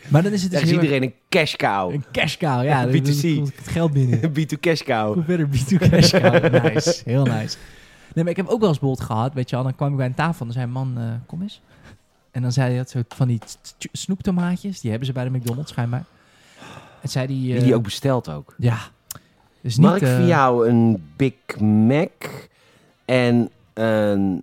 Speaker 2: maar dan is
Speaker 1: Daar
Speaker 2: het
Speaker 1: is
Speaker 2: dus heel erg
Speaker 1: iedereen een cash cow.
Speaker 2: een cash cow. Ja, dan- dan
Speaker 1: B2C.
Speaker 2: komt het geld binnen.
Speaker 1: <laughs> Een B2 cash cow.
Speaker 2: Hoe verder
Speaker 1: <laughs>
Speaker 2: B2 cash cow. Nice, heel nice. Nee, maar ik heb ook wel eens bijvoorbeeld gehad, weet je wel. Dan kwam ik bij een tafel en dan zei een man, eh, kom eens. En dan zei hij dat zo van die t- t- snoeptomaatjes. Die hebben ze bij de McDonald's schijnbaar. En zei die... eh,
Speaker 1: Die die ook bestelt ook.
Speaker 2: Ja. Dus
Speaker 1: Mag
Speaker 2: niet,
Speaker 1: ik
Speaker 2: eh,
Speaker 1: voor jou een Big Mac en een...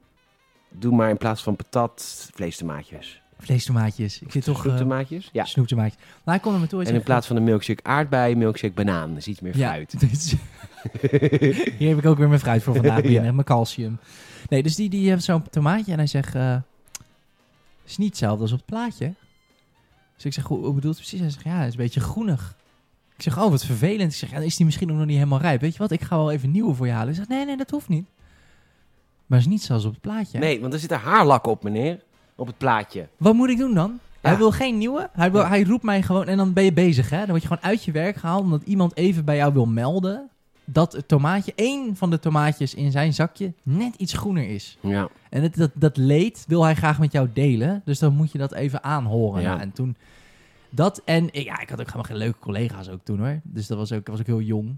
Speaker 1: Doe maar in plaats van patat, vleestomaatjes.
Speaker 2: Vleestomaatjes. Ik zit toch... eh
Speaker 1: Groentemaatjes? Ja.
Speaker 2: snoeptomaatjes. Maar hij kon naar me toe en
Speaker 1: En
Speaker 2: zei,
Speaker 1: in plaats van een milkshake aardbei, milkshake banaan. Dat is iets meer fruit.
Speaker 2: dus- <laughs> hier heb ik ook weer mijn fruit voor vandaag
Speaker 1: <laughs>
Speaker 2: binnen.
Speaker 1: Ja.
Speaker 2: Mijn calcium. Nee, dus die, die heeft zo'n tomaatje en hij zegt... eh, is niet hetzelfde als op het plaatje. Dus ik zeg, hoe, hoe bedoelt het precies? Hij zegt, ja, het is een beetje groenig. Ik zeg, oh, wat vervelend. Ik zeg, ja, dan is die misschien ook nog niet helemaal rijp. Weet je wat, ik ga wel even nieuwe voor je halen. Hij zegt, nee, nee, dat hoeft niet. Maar is niet zoals op het plaatje.
Speaker 1: Nee, want er zit er haarlak op, meneer. Op het plaatje.
Speaker 2: Wat moet ik doen dan?
Speaker 1: Ja.
Speaker 2: Hij wil geen nieuwe. Hij, wil,
Speaker 1: Ja.
Speaker 2: hij roept mij gewoon en dan ben je bezig, hè? Dan word je gewoon uit je werk gehaald omdat iemand even bij jou wil melden dat het tomaatje, één van de tomaatjes in zijn zakje, net iets groener is.
Speaker 1: Ja.
Speaker 2: En het, dat, dat leed wil hij graag met jou delen. Dus dan moet je dat even aanhoren.
Speaker 1: Ja.
Speaker 2: Nou, en toen dat en ik- ja, ik had ook helemaal geen leuke collega's ook toen hoor. Dus dat was ook, ik was ook heel jong.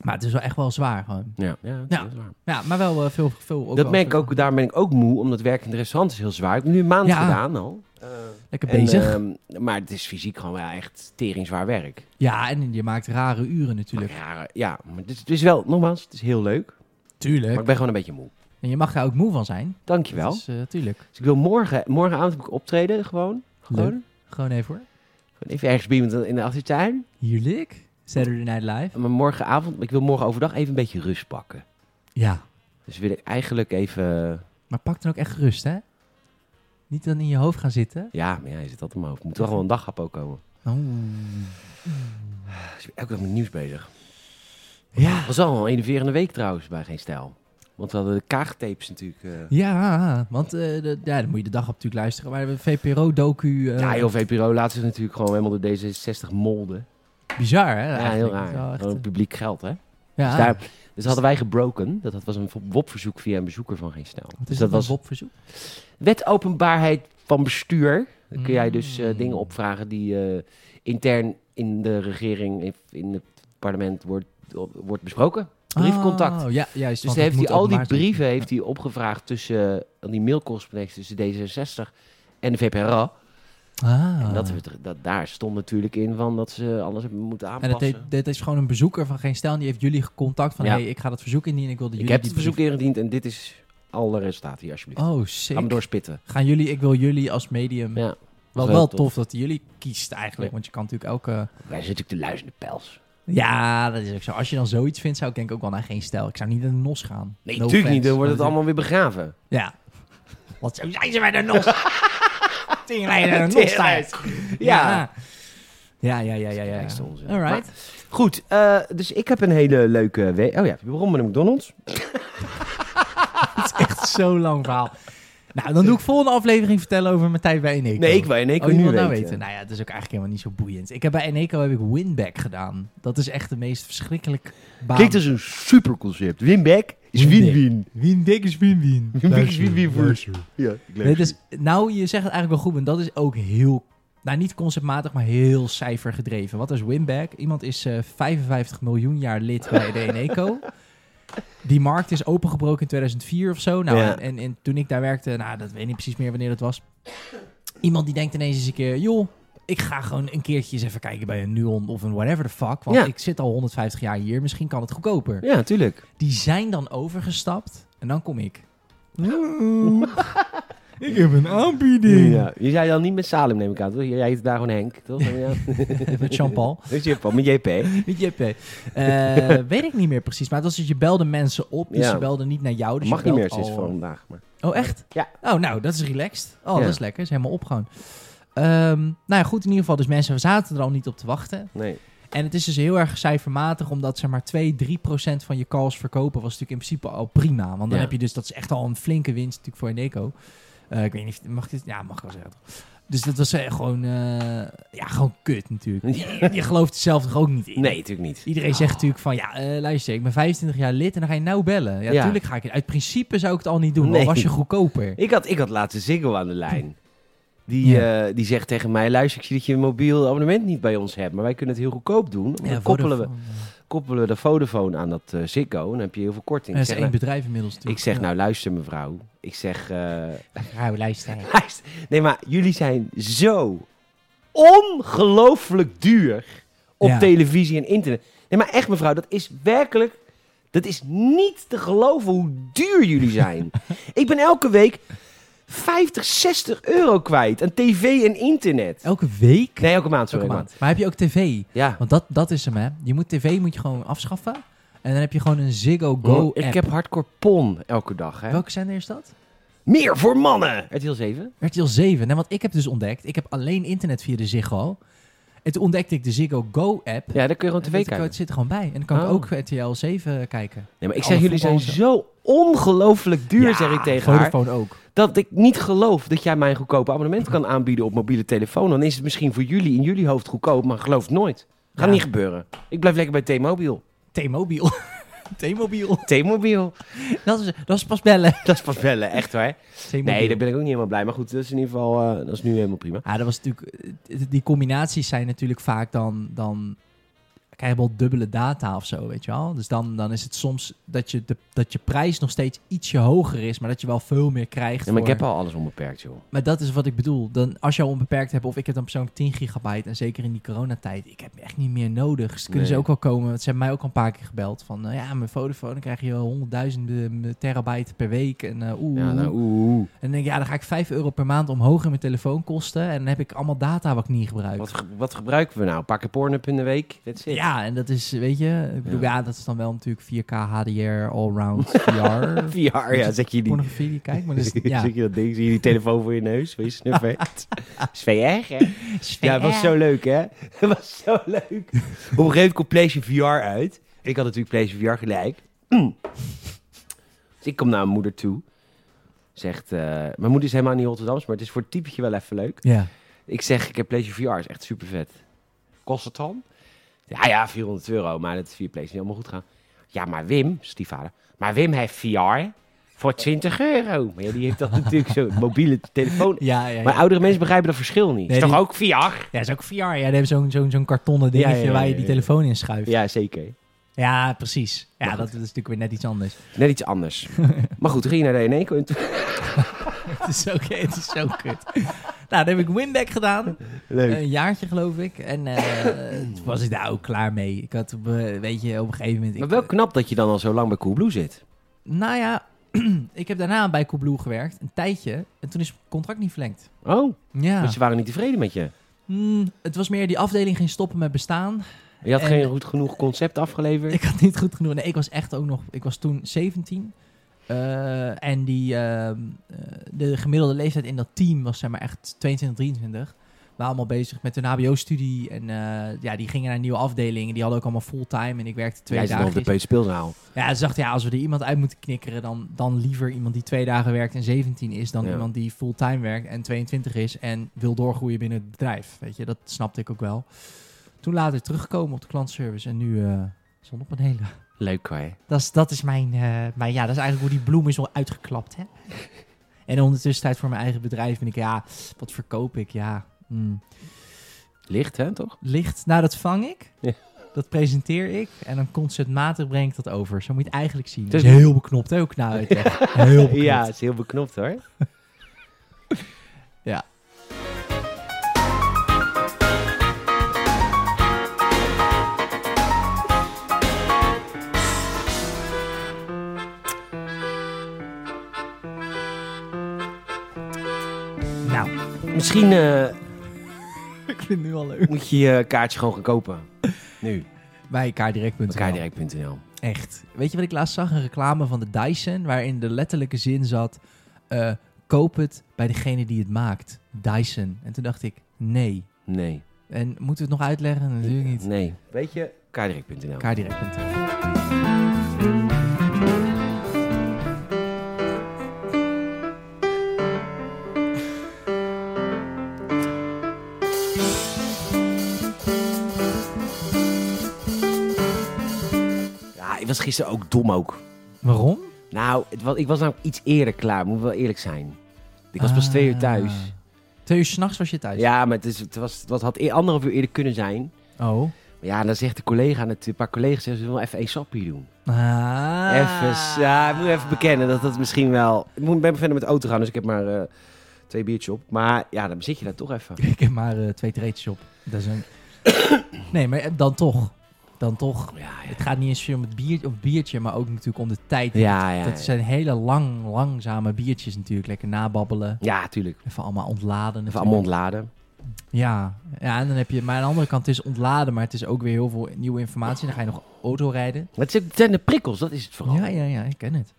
Speaker 2: Maar het is wel echt wel zwaar gewoon.
Speaker 1: Ja, ja,
Speaker 2: Ja.
Speaker 1: dat is waar.
Speaker 2: Ja, maar wel eh, veel, veel. Ook
Speaker 1: dat
Speaker 2: Nou, wel
Speaker 1: merk ik
Speaker 2: veel-
Speaker 1: ook, daar ben ik ook moe, omdat werk in het restaurant is heel zwaar. Ik heb nu een maand
Speaker 2: Ja.
Speaker 1: gedaan al.
Speaker 2: Lekker
Speaker 1: En,
Speaker 2: bezig.
Speaker 1: ehm, maar het is fysiek gewoon wel echt teringzwaar werk.
Speaker 2: ja, en je maakt rare uren natuurlijk.
Speaker 1: Maar ja, ja, maar het is, het is wel, nogmaals, het is heel leuk.
Speaker 2: Tuurlijk.
Speaker 1: Maar ik ben gewoon een beetje moe.
Speaker 2: En je mag daar ook moe van zijn.
Speaker 1: Dankjewel.
Speaker 2: Dus eh, tuurlijk.
Speaker 1: Dus ik wil morgen, morgenavond heb ik optreden, gewoon. Gewoon.
Speaker 2: Leuk. Gewoon even hoor.
Speaker 1: Gewoon Even ergens bij iemand in de achtertuin.
Speaker 2: Heerlijk. Saturday Night Live.
Speaker 1: Maar morgenavond, ik wil morgen overdag even een beetje rust pakken.
Speaker 2: Ja.
Speaker 1: Dus wil ik eigenlijk even...
Speaker 2: Maar pak dan ook echt rust, hè? Niet dan in je hoofd gaan zitten.
Speaker 1: Ja, maar ja, je zit altijd in mijn hoofd. Moet toch wel een daghap ook komen.
Speaker 2: Oh.
Speaker 1: Dus ik ben elke dag met nieuws bezig.
Speaker 2: Ja.
Speaker 1: was al een enerverende week trouwens bij Geen Stijl. Want we hadden de kaagtapes natuurlijk. eh.
Speaker 2: Ja, want eh, de, ja, dan moet je de dag op natuurlijk luisteren. Maar de VPRO-docu... eh,
Speaker 1: ja, heel VPRO laat zich natuurlijk gewoon helemaal door D66 molden.
Speaker 2: Bizar, hè?
Speaker 1: Ja, heel
Speaker 2: eigenlijk. Het is wel
Speaker 1: raar.
Speaker 2: echt,
Speaker 1: Gewoon
Speaker 2: eh,
Speaker 1: publiek geld, hè?
Speaker 2: ja.
Speaker 1: Dus, daar, dus hadden wij gebroken. Dat dat was een WOP-verzoek via een bezoeker van Geen Stijl.
Speaker 2: Wat
Speaker 1: Dus
Speaker 2: is
Speaker 1: dat was
Speaker 2: Bob-verzoek?
Speaker 1: Wet openbaarheid van bestuur. Dan kun jij dus eh,
Speaker 2: Mm.
Speaker 1: dingen opvragen die eh, intern in de regering, in, in het parlement wordt, wordt besproken. Briefcontact.
Speaker 2: Oh, ja, juist.
Speaker 1: dus
Speaker 2: want
Speaker 1: dan
Speaker 2: het
Speaker 1: heeft hij
Speaker 2: moet
Speaker 1: al die
Speaker 2: openbaar zijn.
Speaker 1: brieven heeft hij opgevraagd tussen eh, die mailcorrespondentie tussen D66 en de VPRO.
Speaker 2: Ah.
Speaker 1: En dat, werd er- dat, daar stond natuurlijk in van dat ze alles hebben moeten
Speaker 2: En dat,
Speaker 1: aanpassen.
Speaker 2: deed- dat is gewoon een bezoeker van geen stijl. en Die heeft jullie gecontact van...
Speaker 1: Ja.
Speaker 2: hey, ik ga dat verzoek indienen. Ik wil dat
Speaker 1: Ik
Speaker 2: jullie
Speaker 1: heb
Speaker 2: die
Speaker 1: het verzoek
Speaker 2: brief-
Speaker 1: ingediend en dit is alle resultaten hier alsjeblieft.
Speaker 2: Oh,
Speaker 1: Ga me
Speaker 2: sick. Hmm.
Speaker 1: doorspitten.
Speaker 2: Gaan jullie... Ik wil jullie als medium...
Speaker 1: Ja, wel
Speaker 2: wel, wel
Speaker 1: tof.
Speaker 2: tof. dat hij jullie kiest eigenlijk.
Speaker 1: Ja.
Speaker 2: Want je kan natuurlijk elke...
Speaker 1: wij zitten natuurlijk de luizende pels.
Speaker 2: Ja, dat is ook zo. Als je dan zoiets vindt, zou ik denk ik ook wel naar geen stijl. Ik zou niet naar de NOS gaan.
Speaker 1: Nee,
Speaker 2: No
Speaker 1: natuurlijk niet.
Speaker 2: offense,
Speaker 1: Dan wordt het
Speaker 2: maar
Speaker 1: allemaal weer begraven.
Speaker 2: natuurlijk- Ja. Wat zo zijn ze bij de
Speaker 1: <laughs>
Speaker 2: NOS? Tegenlijn naar de NOS
Speaker 1: Teringlijst.
Speaker 2: staat.
Speaker 1: ja.
Speaker 2: Ja, ja, ja, ja. ja,
Speaker 1: Echt onzin.
Speaker 2: All right.
Speaker 1: Goed, eh, dus ik heb een hele leuke week. Oh ja, waarom met een McDonald's?
Speaker 2: Het is echt zo'n lang verhaal. Nou, dan doe ik volgende aflevering vertellen over mijn tijd bij Eneco.
Speaker 1: Nee, ik wil in één
Speaker 2: Oh,
Speaker 1: keer
Speaker 2: je
Speaker 1: nu
Speaker 2: wil nou
Speaker 1: weten.
Speaker 2: weten. Nou ja, het is ook eigenlijk helemaal niet zo boeiend. Ik heb bij Eneco heb ik Winback gedaan. Dat is echt de meest verschrikkelijk baan.
Speaker 1: Klinkt als een super concept. Winback is
Speaker 2: Winback.
Speaker 1: win-win.
Speaker 2: Winback is
Speaker 1: <laughs>
Speaker 2: win-win.
Speaker 1: Winback is win-win voor... Ja, ik lees
Speaker 2: Nee, dus, nou, je zegt het eigenlijk wel goed, want dat is ook heel... Nou, niet conceptmatig, maar heel cijfergedreven. Wat is Winback? Iemand is eh, 55 miljoen jaar lid
Speaker 1: <laughs>
Speaker 2: bij de Eneco. Die markt is opengebroken in 2004 of zo. Nou,
Speaker 1: Ja.
Speaker 2: en, en, en toen ik daar werkte, nou, dat weet ik niet precies meer wanneer dat was. Iemand die denkt ineens eens een keer... joh, ik ga gewoon een keertje eens even kijken bij een Nuon of een whatever the fuck. Want
Speaker 1: Ja.
Speaker 2: ik zit al 150 jaar hier, misschien kan het goedkoper.
Speaker 1: Ja, tuurlijk.
Speaker 2: Die zijn dan overgestapt en dan kom ik. <laughs> ik heb een aanbieding.
Speaker 1: Ja. Je zei dan niet met Salim, neem ik aan. Toch? Jij heet daar gewoon Henk, toch? <laughs> Ja.
Speaker 2: <laughs> Met Jean-Paul.
Speaker 1: Dus je hebt al met JP.
Speaker 2: Met JP. Eh, <laughs> weet ik niet meer precies, maar het was dat je belde mensen op, dus
Speaker 1: Ja.
Speaker 2: je belde niet naar jou. Dus
Speaker 1: Mag
Speaker 2: je
Speaker 1: niet
Speaker 2: belt
Speaker 1: meer sinds
Speaker 2: al-
Speaker 1: vandaag. Maar.
Speaker 2: Oh, echt?
Speaker 1: Ja.
Speaker 2: Oh, nou, dat is relaxed. Oh,
Speaker 1: Ja.
Speaker 2: dat is lekker. Is helemaal op gewoon. Ehm, nou ja, goed, in ieder geval. Dus mensen zaten er al niet op te wachten.
Speaker 1: Nee.
Speaker 2: En het is dus heel erg cijfermatig, omdat zeg maar 2, 3 procent van je calls verkopen was natuurlijk in principe al prima. Want
Speaker 1: Ja.
Speaker 2: dan heb je dus, dat is echt al een flinke winst natuurlijk voor Eneco. Eh, ik weet niet, of- mag ik dit? Ja, mag ik wel zeggen. toch? Dus dat was eh, gewoon, eh, ja, gewoon kut natuurlijk. Je, je gelooft het zelf toch ook niet in?
Speaker 1: Nee, natuurlijk niet.
Speaker 2: Iedereen zegt natuurlijk van, ja, eh, luister, ik ben 25 jaar lid en dan ga je nou bellen. Ja,
Speaker 1: Ja.
Speaker 2: natuurlijk ga ik het. Uit principe zou ik het al niet doen,
Speaker 1: Nee.
Speaker 2: al was je
Speaker 1: <laughs>
Speaker 2: goedkoper.
Speaker 1: Ik had, ik had laatst Ziggo aan de lijn. Die, eh, die zegt tegen mij, luister, ik zie dat je een mobiel abonnement niet bij ons hebt. Maar wij kunnen het heel goedkoop doen. want
Speaker 2: Ja,
Speaker 1: dan koppelen we,
Speaker 2: Vodafone,
Speaker 1: koppelen we de Vodafone aan dat eh Ziggo. En dan heb je heel veel
Speaker 2: eh,
Speaker 1: korting.
Speaker 2: Dat
Speaker 1: Ik
Speaker 2: is
Speaker 1: zeg,
Speaker 2: één bedrijf inmiddels
Speaker 1: nou,
Speaker 2: natuurlijk.
Speaker 1: ik zeg
Speaker 2: Ja.
Speaker 1: nou, luister mevrouw. Ik zeg, eh, <laughs>
Speaker 2: Rauwe lijst, hè.
Speaker 1: luister. Nee, maar jullie zijn zo ongelooflijk duur op
Speaker 2: Ja.
Speaker 1: televisie en internet. Nee, maar echt mevrouw, dat is werkelijk... Dat is niet te geloven hoe duur
Speaker 2: <laughs>
Speaker 1: jullie zijn. ik ben elke week 50, 60 euro kwijt aan tv en internet.
Speaker 2: Elke week?
Speaker 1: Nee, elke maand, sorry.
Speaker 2: Elke
Speaker 1: elke
Speaker 2: maand. Maar heb je ook tv?
Speaker 1: maand. Ja.
Speaker 2: Want dat, dat is hem, hè. Je moet tv moet je gewoon afschaffen. En dan heb je gewoon een Ziggo Go
Speaker 1: Oh,
Speaker 2: app.
Speaker 1: ik heb hardcore pon elke dag. Hè?
Speaker 2: Welke zender is dat?
Speaker 1: Meer voor mannen! RTL 7?
Speaker 2: RTL 7. Nee, want ik heb dus ontdekt, ik heb alleen internet via de Ziggo. En toen ontdekte ik de Ziggo Go-app.
Speaker 1: Ja, daar kun je gewoon
Speaker 2: En
Speaker 1: tv
Speaker 2: dat- dat
Speaker 1: kijken.
Speaker 2: zit er gewoon bij. En dan kan
Speaker 1: Oh.
Speaker 2: ik ook RTL 7 kijken.
Speaker 1: Nee, maar ik
Speaker 2: Alle
Speaker 1: zeg, jullie zijn
Speaker 2: voetbal-
Speaker 1: zo ongelooflijk duur, zeg ik tegen haar.
Speaker 2: Vodafone ook.
Speaker 1: dat ik niet geloof dat jij mij een goedkoop abonnement kan aanbieden op mobiele telefoon. Dan is het misschien voor jullie in jullie hoofd goedkoop, maar geloof het nooit. Gaat
Speaker 2: Ja.
Speaker 1: niet gebeuren. Ik blijf lekker bij T-Mobile. <laughs>
Speaker 2: T-Mobile. <laughs> T-Mobile.
Speaker 1: T-Mobile. <laughs>
Speaker 2: Dat is, dat is pas bellen.
Speaker 1: Dat is pas bellen, echt waar.
Speaker 2: T-Mobile.
Speaker 1: Nee, daar ben ik ook niet helemaal blij. Maar goed, dat is in ieder geval, eh, dat is nu helemaal prima.
Speaker 2: Ja, dat was natuurlijk. eh, Die combinaties zijn natuurlijk vaak dan. dan krijg je wel dubbele data of zo, weet je wel. Dus dan, dan is het soms dat je, de, dat je prijs nog steeds ietsje hoger is, maar dat je wel veel meer krijgt.
Speaker 1: Ja, maar ik
Speaker 2: voor-
Speaker 1: heb al alles onbeperkt, joh.
Speaker 2: maar dat is wat ik bedoel. Dan, als je al onbeperkt hebt, of ik heb dan persoonlijk 10 gigabyte, en zeker in die coronatijd, ik heb echt niet meer nodig. Dus kunnen ze
Speaker 1: Nee.
Speaker 2: ook wel komen, want ze hebben mij ook al een paar keer gebeld van, eh, ja, mijn Vodafone, dan krijg je wel honderdduizenden terabyte per week, en eh, oeh,
Speaker 1: Ja,
Speaker 2: oeh,
Speaker 1: nou,
Speaker 2: oeh.
Speaker 1: oeh, oeh.
Speaker 2: En dan denk ik, ja, dan ga ik 5 euro per maand omhoog in mijn telefoonkosten. En dan heb ik allemaal data wat ik niet gebruik.
Speaker 1: Wat, ge- wat gebruiken we nou? Een paar keer porn-up in de week? That's it.
Speaker 2: ja, en dat is, weet je, ik bedoel,
Speaker 1: Ja.
Speaker 2: ja. dat is dan wel natuurlijk 4K HDR, allround <laughs> VR.
Speaker 1: VR, <laughs> ja, zet je die...
Speaker 2: Pornografie die ik kijk,
Speaker 1: <laughs>
Speaker 2: maar dat is, <laughs> ja.
Speaker 1: Zet je dat ding, zie je die telefoon voor je neus? Weet je <laughs> snuffer? is VR, hè? Ja, het was
Speaker 2: Ja.
Speaker 1: zo leuk, hè? <laughs> Het was zo leuk. Op een gegeven moment komt PlayStation VR uit. En ik had natuurlijk PlayStation VR gelijk. dus ik kom naar mijn moeder toe. Zegt, eh, mijn moeder is helemaal niet Rotterdams, maar het is voor het typetje wel even leuk.
Speaker 2: Ja.
Speaker 1: Ik zeg, ik heb PlayStation VR, is echt super vet. Kost het dan? Ja, ja, 400 euro, maar dat is via PlayStation niet allemaal goed gaan. Ja, maar Wim, stiefvader, maar Wim heeft VR voor 20 euro. Maar ja, die
Speaker 2: <laughs>
Speaker 1: heeft dat natuurlijk zo, mobiele telefoon.
Speaker 2: Ja, ja, ja.
Speaker 1: Maar oudere mensen begrijpen dat verschil niet.
Speaker 2: Nee,
Speaker 1: is toch
Speaker 2: die-
Speaker 1: ook VR?
Speaker 2: Ja, dat is ook VR. Ja, daar hebben ze zo'n zo'n zo'n kartonnen dingetje
Speaker 1: Ja, ja, ja,
Speaker 2: waar je
Speaker 1: ja,
Speaker 2: die
Speaker 1: ja.
Speaker 2: telefoon in schuift. Ja,
Speaker 1: Ja, zeker.
Speaker 2: precies. Ja,
Speaker 1: Maar
Speaker 2: dat,
Speaker 1: goed.
Speaker 2: dat is natuurlijk weer net iets anders.
Speaker 1: Net iets anders. maar goed, toen ging je naar de E Eneco en toen-
Speaker 2: <laughs> het, is ook, het is zo kut. Nou, dan heb ik Winback gedaan.
Speaker 1: Leuk.
Speaker 2: Een jaartje geloof ik. En eh, toen was ik daar ook klaar mee. Ik had, op, eh, weet je, op een gegeven moment...
Speaker 1: Maar
Speaker 2: ik-
Speaker 1: wel knap dat je dan al zo lang bij Coolblue zit.
Speaker 2: Nou ja, <clears throat> ik heb daarna bij Coolblue gewerkt. Een tijdje. En toen is het contract niet verlengd.
Speaker 1: Oh,
Speaker 2: Ja.
Speaker 1: want ze waren niet tevreden met je.
Speaker 2: Hmm, het was meer die afdeling ging stoppen met bestaan. <laughs>
Speaker 1: Je had
Speaker 2: En-
Speaker 1: geen goed genoeg concept afgeleverd.
Speaker 2: Ik had niet goed genoeg. Nee, ik was echt ook nog. Ik was toen 17. Eh, en die, ehm, eh, de gemiddelde leeftijd in dat team was zeg maar echt 22, 23. We waren allemaal bezig met hun HBO-studie. En eh, ja, die gingen naar een nieuwe afdeling. En die hadden ook allemaal fulltime. En ik werkte twee
Speaker 1: Jij zit nog op
Speaker 2: dagen.
Speaker 1: de Peet Speelzaal.
Speaker 2: Ja, ze dachten, ja, als we er iemand uit moeten knikkeren, dan, dan liever iemand die twee dagen werkt en 17 is, dan
Speaker 1: Ja.
Speaker 2: iemand die fulltime werkt en 22 is en wil doorgroeien binnen het bedrijf. Weet je, dat snapte ik ook wel. Toen later teruggekomen op de klantservice en nu eh zonnepanelen.
Speaker 1: Leuk hoor.
Speaker 2: <laughs> Dat is, dat is mijn, eh, mijn... Ja, dat is eigenlijk hoe die bloem is al uitgeklapt, hè? en ondertussen tijd voor mijn eigen bedrijf ben ik... Ja, wat verkoop ik? Ja, mm.
Speaker 1: Licht, hè, toch?
Speaker 2: licht. Nou, dat vang ik.
Speaker 1: Ja.
Speaker 2: Dat presenteer ik. En dan conceptmatig breng ik dat over. Zo moet je het eigenlijk zien. Het
Speaker 1: Dus-
Speaker 2: is heel beknopt, hè?
Speaker 1: <laughs>
Speaker 2: Ook nou, het echt. Heel beknopt.
Speaker 1: Ja, het is heel beknopt hoor.
Speaker 2: Ja. Nou, <laughs>
Speaker 1: Misschien eh, <laughs>
Speaker 2: ik vind het nu al leuk.
Speaker 1: moet je je kaartje gewoon gaan kopen. Nu.
Speaker 2: Bij
Speaker 1: Op
Speaker 2: kaardirect.nl.
Speaker 1: kaardirect.nl.
Speaker 2: Echt. Weet je wat ik laatst zag? Een reclame van de Dyson, waarin de letterlijke zin zat: eh, koop het bij degene die het maakt. Dyson. En toen dacht ik: nee.
Speaker 1: Nee.
Speaker 2: En moeten we het nog uitleggen? Natuurlijk niet.
Speaker 1: Nee. Weet je, kaardirect.nl.
Speaker 2: Kaardirect.nl.
Speaker 1: Ja, ik was gisteren ook dom ook.
Speaker 2: Waarom?
Speaker 1: Nou, het was, ik was namelijk iets eerder klaar, moet ik wel eerlijk zijn. Ik was pas twee uur thuis.
Speaker 2: Ah. Twee uur s'nachts was je thuis?
Speaker 1: Ja, maar het, is, het, was, het was, had e- anderhalf uur eerder kunnen zijn.
Speaker 2: Oh.
Speaker 1: Maar ja, dan zegt de collega, net- een paar collega's, zeggen, ze wil even een sapje doen.
Speaker 2: Ah.
Speaker 1: Even, ja, ik moet even bekennen dat dat misschien wel... Ik moet, ben verder met de auto gaan, dus ik heb maar eh, twee biertjes op. Maar ja, dan zit je daar toch even. <laughs>
Speaker 2: Ik heb maar eh, twee treetjes op. Dat is een... nee, maar eh, dan toch. Dan toch.
Speaker 1: Ja, ja.
Speaker 2: Het gaat niet eens om het biertje, om het biertje maar ook natuurlijk om de tijd die
Speaker 1: Ja, ja,
Speaker 2: Dat
Speaker 1: ja.
Speaker 2: zijn hele lang, langzame biertjes natuurlijk. Lekker nababbelen.
Speaker 1: ja tuurlijk.
Speaker 2: Even allemaal ontladen.
Speaker 1: Even allemaal ontladen.
Speaker 2: Ja. ja, en dan heb je... Maar aan de andere kant, het is ontladen, maar het is ook weer heel veel nieuwe informatie. Dan ga je nog autorijden.
Speaker 1: Maar het zijn- het zijn de prikkels, dat is het vooral.
Speaker 2: Ja, ja, ja, ik ken het.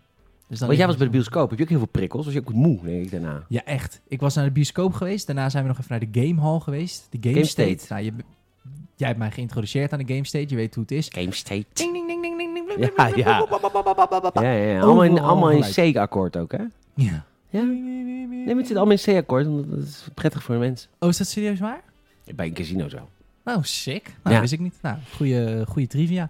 Speaker 2: Dus dan
Speaker 1: Oh. Want jij
Speaker 2: is
Speaker 1: was bij de bioscoop, heb je ook heel veel prikkels? Was je ook moe, denk ik, daarna?
Speaker 2: Ja, echt. Ik was naar de bioscoop geweest. Daarna zijn we nog even naar de Game Hall geweest. De Game,
Speaker 1: Game
Speaker 2: State.
Speaker 1: State.
Speaker 2: Nou, je Jij hebt mij geïntroduceerd aan de game state. Je weet hoe het is.
Speaker 1: Game State.
Speaker 2: Ding, ding, ding, ding, ding, ding,
Speaker 1: Ja,
Speaker 2: bling, bling, bling,
Speaker 1: ja.
Speaker 2: bling, bling, bling, bling,
Speaker 1: Ja,
Speaker 2: bling, bling, bling.
Speaker 1: ja, ja. Allemaal in,
Speaker 2: Overal
Speaker 1: allemaal in
Speaker 2: gelijk.
Speaker 1: C-akkoord ook, hè?
Speaker 2: Ja.
Speaker 1: Ja. Nee, maar het zit allemaal in C-akkoord, omdat dat is prettig voor de mensen.
Speaker 2: Oh, is dat serieus waar?
Speaker 1: Bij een casino zo.
Speaker 2: Nou, sick. Nou,
Speaker 1: Ja.
Speaker 2: wist ik niet. Nou, goede, goede trivia.